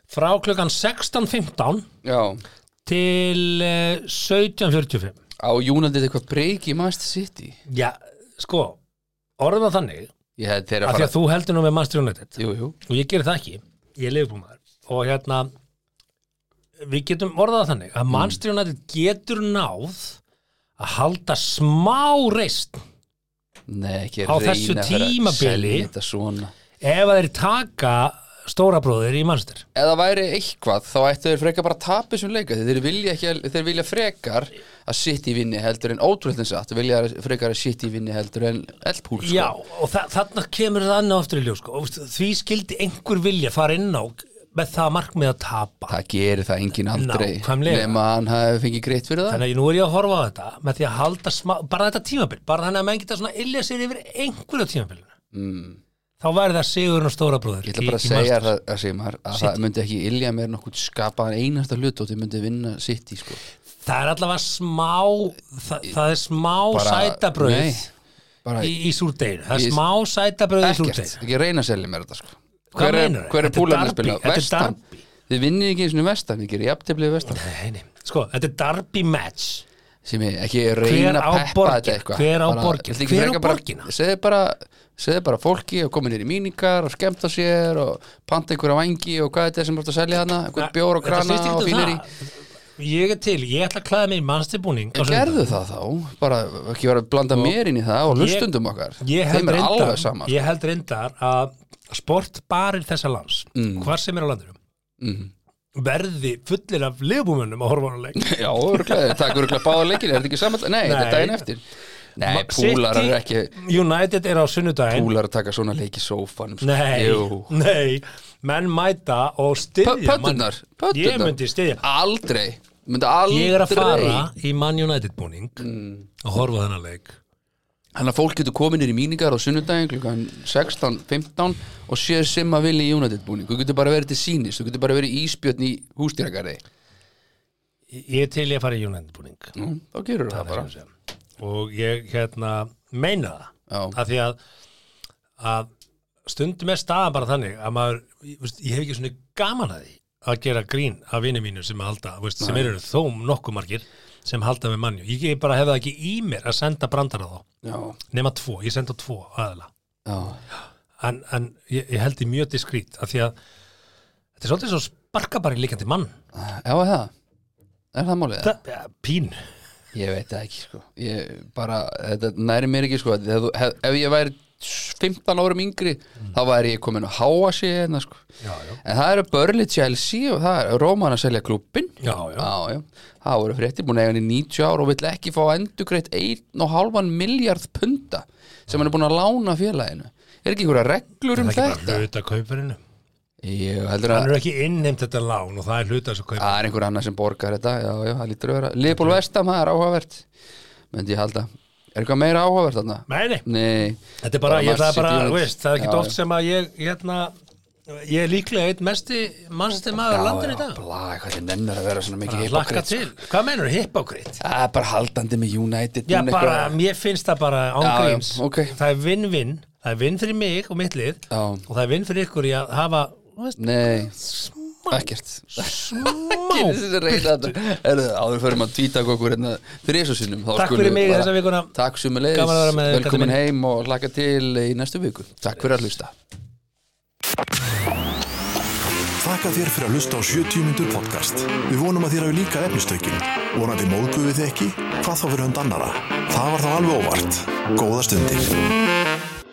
C: frá klukkan 16.15
B: já
C: til eh, 17.45.
B: Á Júnaldið eitthvað breyk í Master City
C: Já, sko, orðum það þannig
B: Ég hefði þeirra
C: af því
B: fara
C: að þú heldur nú með Master United
B: Jú, jú,
C: og ég gerir það ekki, ég er leifbúmaður og hérna við getum orðað það þannig að Master United getur náð að halda smá reist
B: nei, ekki
C: Á
B: reyna
C: þessu
B: að vera að
C: tímabili?
B: selja þetta svona.
C: ef að þeir taka stóra bróðir í Master
B: Ef það væri eitthvað, þá ættu þeir frekar bara að tapa þessum leika því þeir vilja, ekki, að- þeir vilja frekar að sitt í vinni heldur en ótrúlega satt, þeir vilja frekar að sitt í vinni heldur en eldpúl sko.
C: Já, og þa þarna kemur það annað aftur í ljós sko. og veistu, því skildi einhver vilja fara inn á með það markmið að tapa
B: Það gerir það enginn aldrei
C: Nákvæmlega.
B: nema að hann hafi fengið greitt fyrir það
C: Þannig að ég- nú er ég að horfa á þetta með því að halda smá, bara þetta tímabil bara þannig að menn geta svona illja sér yfir einhverju tímabilinu mm. þá væri það sigurinn og stóra bróður
B: Ég ætla bara að segja það að, Sigmar, að það myndi ekki ilja mér nokkuð skapaðan einasta hlut og þið myndi vinna sitt í sko.
C: það er allavega smá það, það er smá sætabrauð
B: Nei, bara
C: í, í súrdeginu það er
B: Ég-
C: smá sætabrauð í
B: ekkert,
C: súrdeginu
B: ekki reyna að selja mér þetta sko.
C: Hvað
B: hver, er,
C: meinarðu?
B: hver er
C: Þetta er
B: búlan að
C: derby,
B: spila?
C: þetta er
B: Vestan
C: derby.
B: Þið vinnið ekki eins og vestan, ekki er jafnteflið vestan
C: Nei, nei. sko, þetta er derby match
B: sem ég ekki reyna
C: á
B: að peppa
C: borgin?
B: þetta eitthvað
C: Hver á
B: Bara-
C: borgin?
B: Viltu ekki
C: Hver á
B: frekar bara-
C: borgina?
B: segðu bara, segðu bara fólki og komið nýri míningar og skemmta sér og panta einhverja vangi og hvað þetta er sem er að selja hana einhvern bjór og
C: Þetta
B: krana
C: snýst
B: og
C: ekkert um
B: fínir í
C: það. ég er til, ég ætla að klæða mig í mannstilbúning
B: gerðu það þá, bara ekki vera að blanda mér inn í það og hlustundum okkar
C: Sko, ég held,
B: þeim er
C: reyndar,
B: alveg sama sko.
C: ég held reyndar að sportbarir þessa lands
B: Mm.
C: hvar sem er á landinu
B: Mhm.
C: verði fullir af liðbúmönnum að horfa á hana leik
B: já, örglega, takk örglega báða leikin er þetta ekki saman, nei, þetta
C: Nei.
B: er daginn eftir nei, púlar
C: City-
B: er ekki
C: United er á sunnudaginn
B: púlar að taka svona leik í sófanum sko.
C: nei,
B: Jú.
C: nei, menn mæta og
B: Pö-
C: styðja mann-
B: pöddurnar, pöddurnar
C: ég myndi styðja
B: aldrei, myndi aldrei Mm.
C: ég er að fara í Man United búning að horfa á þennan leik
B: Þannig að fólk getur komið nýri míningar á sunnudaginn klukkan 16.15 og séð sem að vilja í United búning þú getur bara verið til sínis, þú getur bara verið íspjötn í hústýragarði
C: ég er til ég að fara í United búning
B: Nú, þá gerur það bara
C: Sem. og ég hérna meina það
B: Já.
C: af því að, að stundum er staðan bara þannig að maður, ég, veist, ég hef ekki svona gaman að því að gera grín af vinni mínu sem að halda, veist, sem eru þó nokkuð margir sem halda með manni ég ég bara hef það ekki í mér að senda brandara þá
B: Já,
C: nema tvo, ég senda tvo aðala
B: já,
C: en, en ég, ég held því mjög diskrít af því að þetta er svolítið svo sparka bara í líkandi mann
B: já, er það Er það málið?
C: það, ja, pín
B: Ég veit það ekki, sko Ég bara, þetta næri mér ekki, sko Ef, þú- hef, ef ég væri 15 árum yngri
C: Mm.
B: þá væri ég komin að háa sér hérna, sko.
C: já, já.
B: En það eru Börli Chelsea og það er Róman að selja klúbbin
C: Já, já.
B: já. Það voru fréttir búin að eiga hann í 90 ár og vill ekki fá endugreitt 1,5 miljard punda sem hann er búin að lána félaginu Er ekki einhverja reglur um
C: það er ekki
B: þetta?
C: bara hluta kaupurinu
B: Ég heldur að
C: hann er ekki innheimt þetta lán og það er hluta þessu kaup
B: það er einhver annar sem borgar þetta Já, já, það lítur að vera Leopold Vestam, það er áhugavert Myndi ég halda Er eitthvað meira áhugavert þarna?
C: Nei, nei,
B: Ah. Nei
C: þetta er bara, ég, það er
B: Manchester
C: bara, þú
B: United.
C: veist, það er
B: Já,
C: ekki oft
B: já.
C: sem að ég, hérna, ég er líklega einn mesti mannsætti maður
B: Já,
C: á landinu í
B: já,
C: dag.
B: blæ, hvað þið nennir að vera svona mikið
C: Bara Hlakka
B: hypocrite, sko.
C: til. Hvað menur hippókrít?
B: Það er bara haldandi með United
C: Já,
B: núna
C: bara,
B: eitthvað-
C: mér finnst það bara
B: Já, já,
C: ángríms.
B: ok.
C: Það er vinn-vinn, það er vinn fyrir mig og mitt lið
B: Já.
C: og það er vinn fyrir ykkur í að hafa, þú veist,
B: Nei,
C: smá,
B: ekkert
C: smá.
B: Áður förum að tvítak okkur hérna þrísu sinnum þá
C: Takk
B: skulum
C: fyrir
B: við
C: mig
B: bara-
C: þessa vikuna.
B: Takk sem er
C: Gaman að vera með þér, Kalli
B: Velkomin
C: minn.
B: heim og hlaka til í næstu viku Takk fyrir að hlusta
A: Farðu þakka þér fyrir að hlusta á 70 mínútur podcast. Við vonum að þér hafi líka efnistökin. Vonandi móðguð við þið ekki, hvað þá fyrir hund annara. Það var þá alveg óvart. Góða stundir.